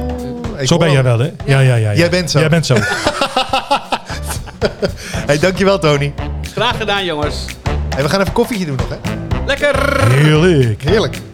[SPEAKER 1] ik
[SPEAKER 3] Zo ben
[SPEAKER 1] hoor
[SPEAKER 3] jij wel,
[SPEAKER 1] hem.
[SPEAKER 3] hè? Ja, ja, ja. ja.
[SPEAKER 1] Jij bent zo.
[SPEAKER 3] Jij bent zo.
[SPEAKER 1] Hey, dankjewel, Tony.
[SPEAKER 4] Graag gedaan, jongens.
[SPEAKER 1] Hey, we gaan even koffietje doen nog, hè?
[SPEAKER 4] Lekker!
[SPEAKER 3] Heerlijk.
[SPEAKER 1] Heerlijk.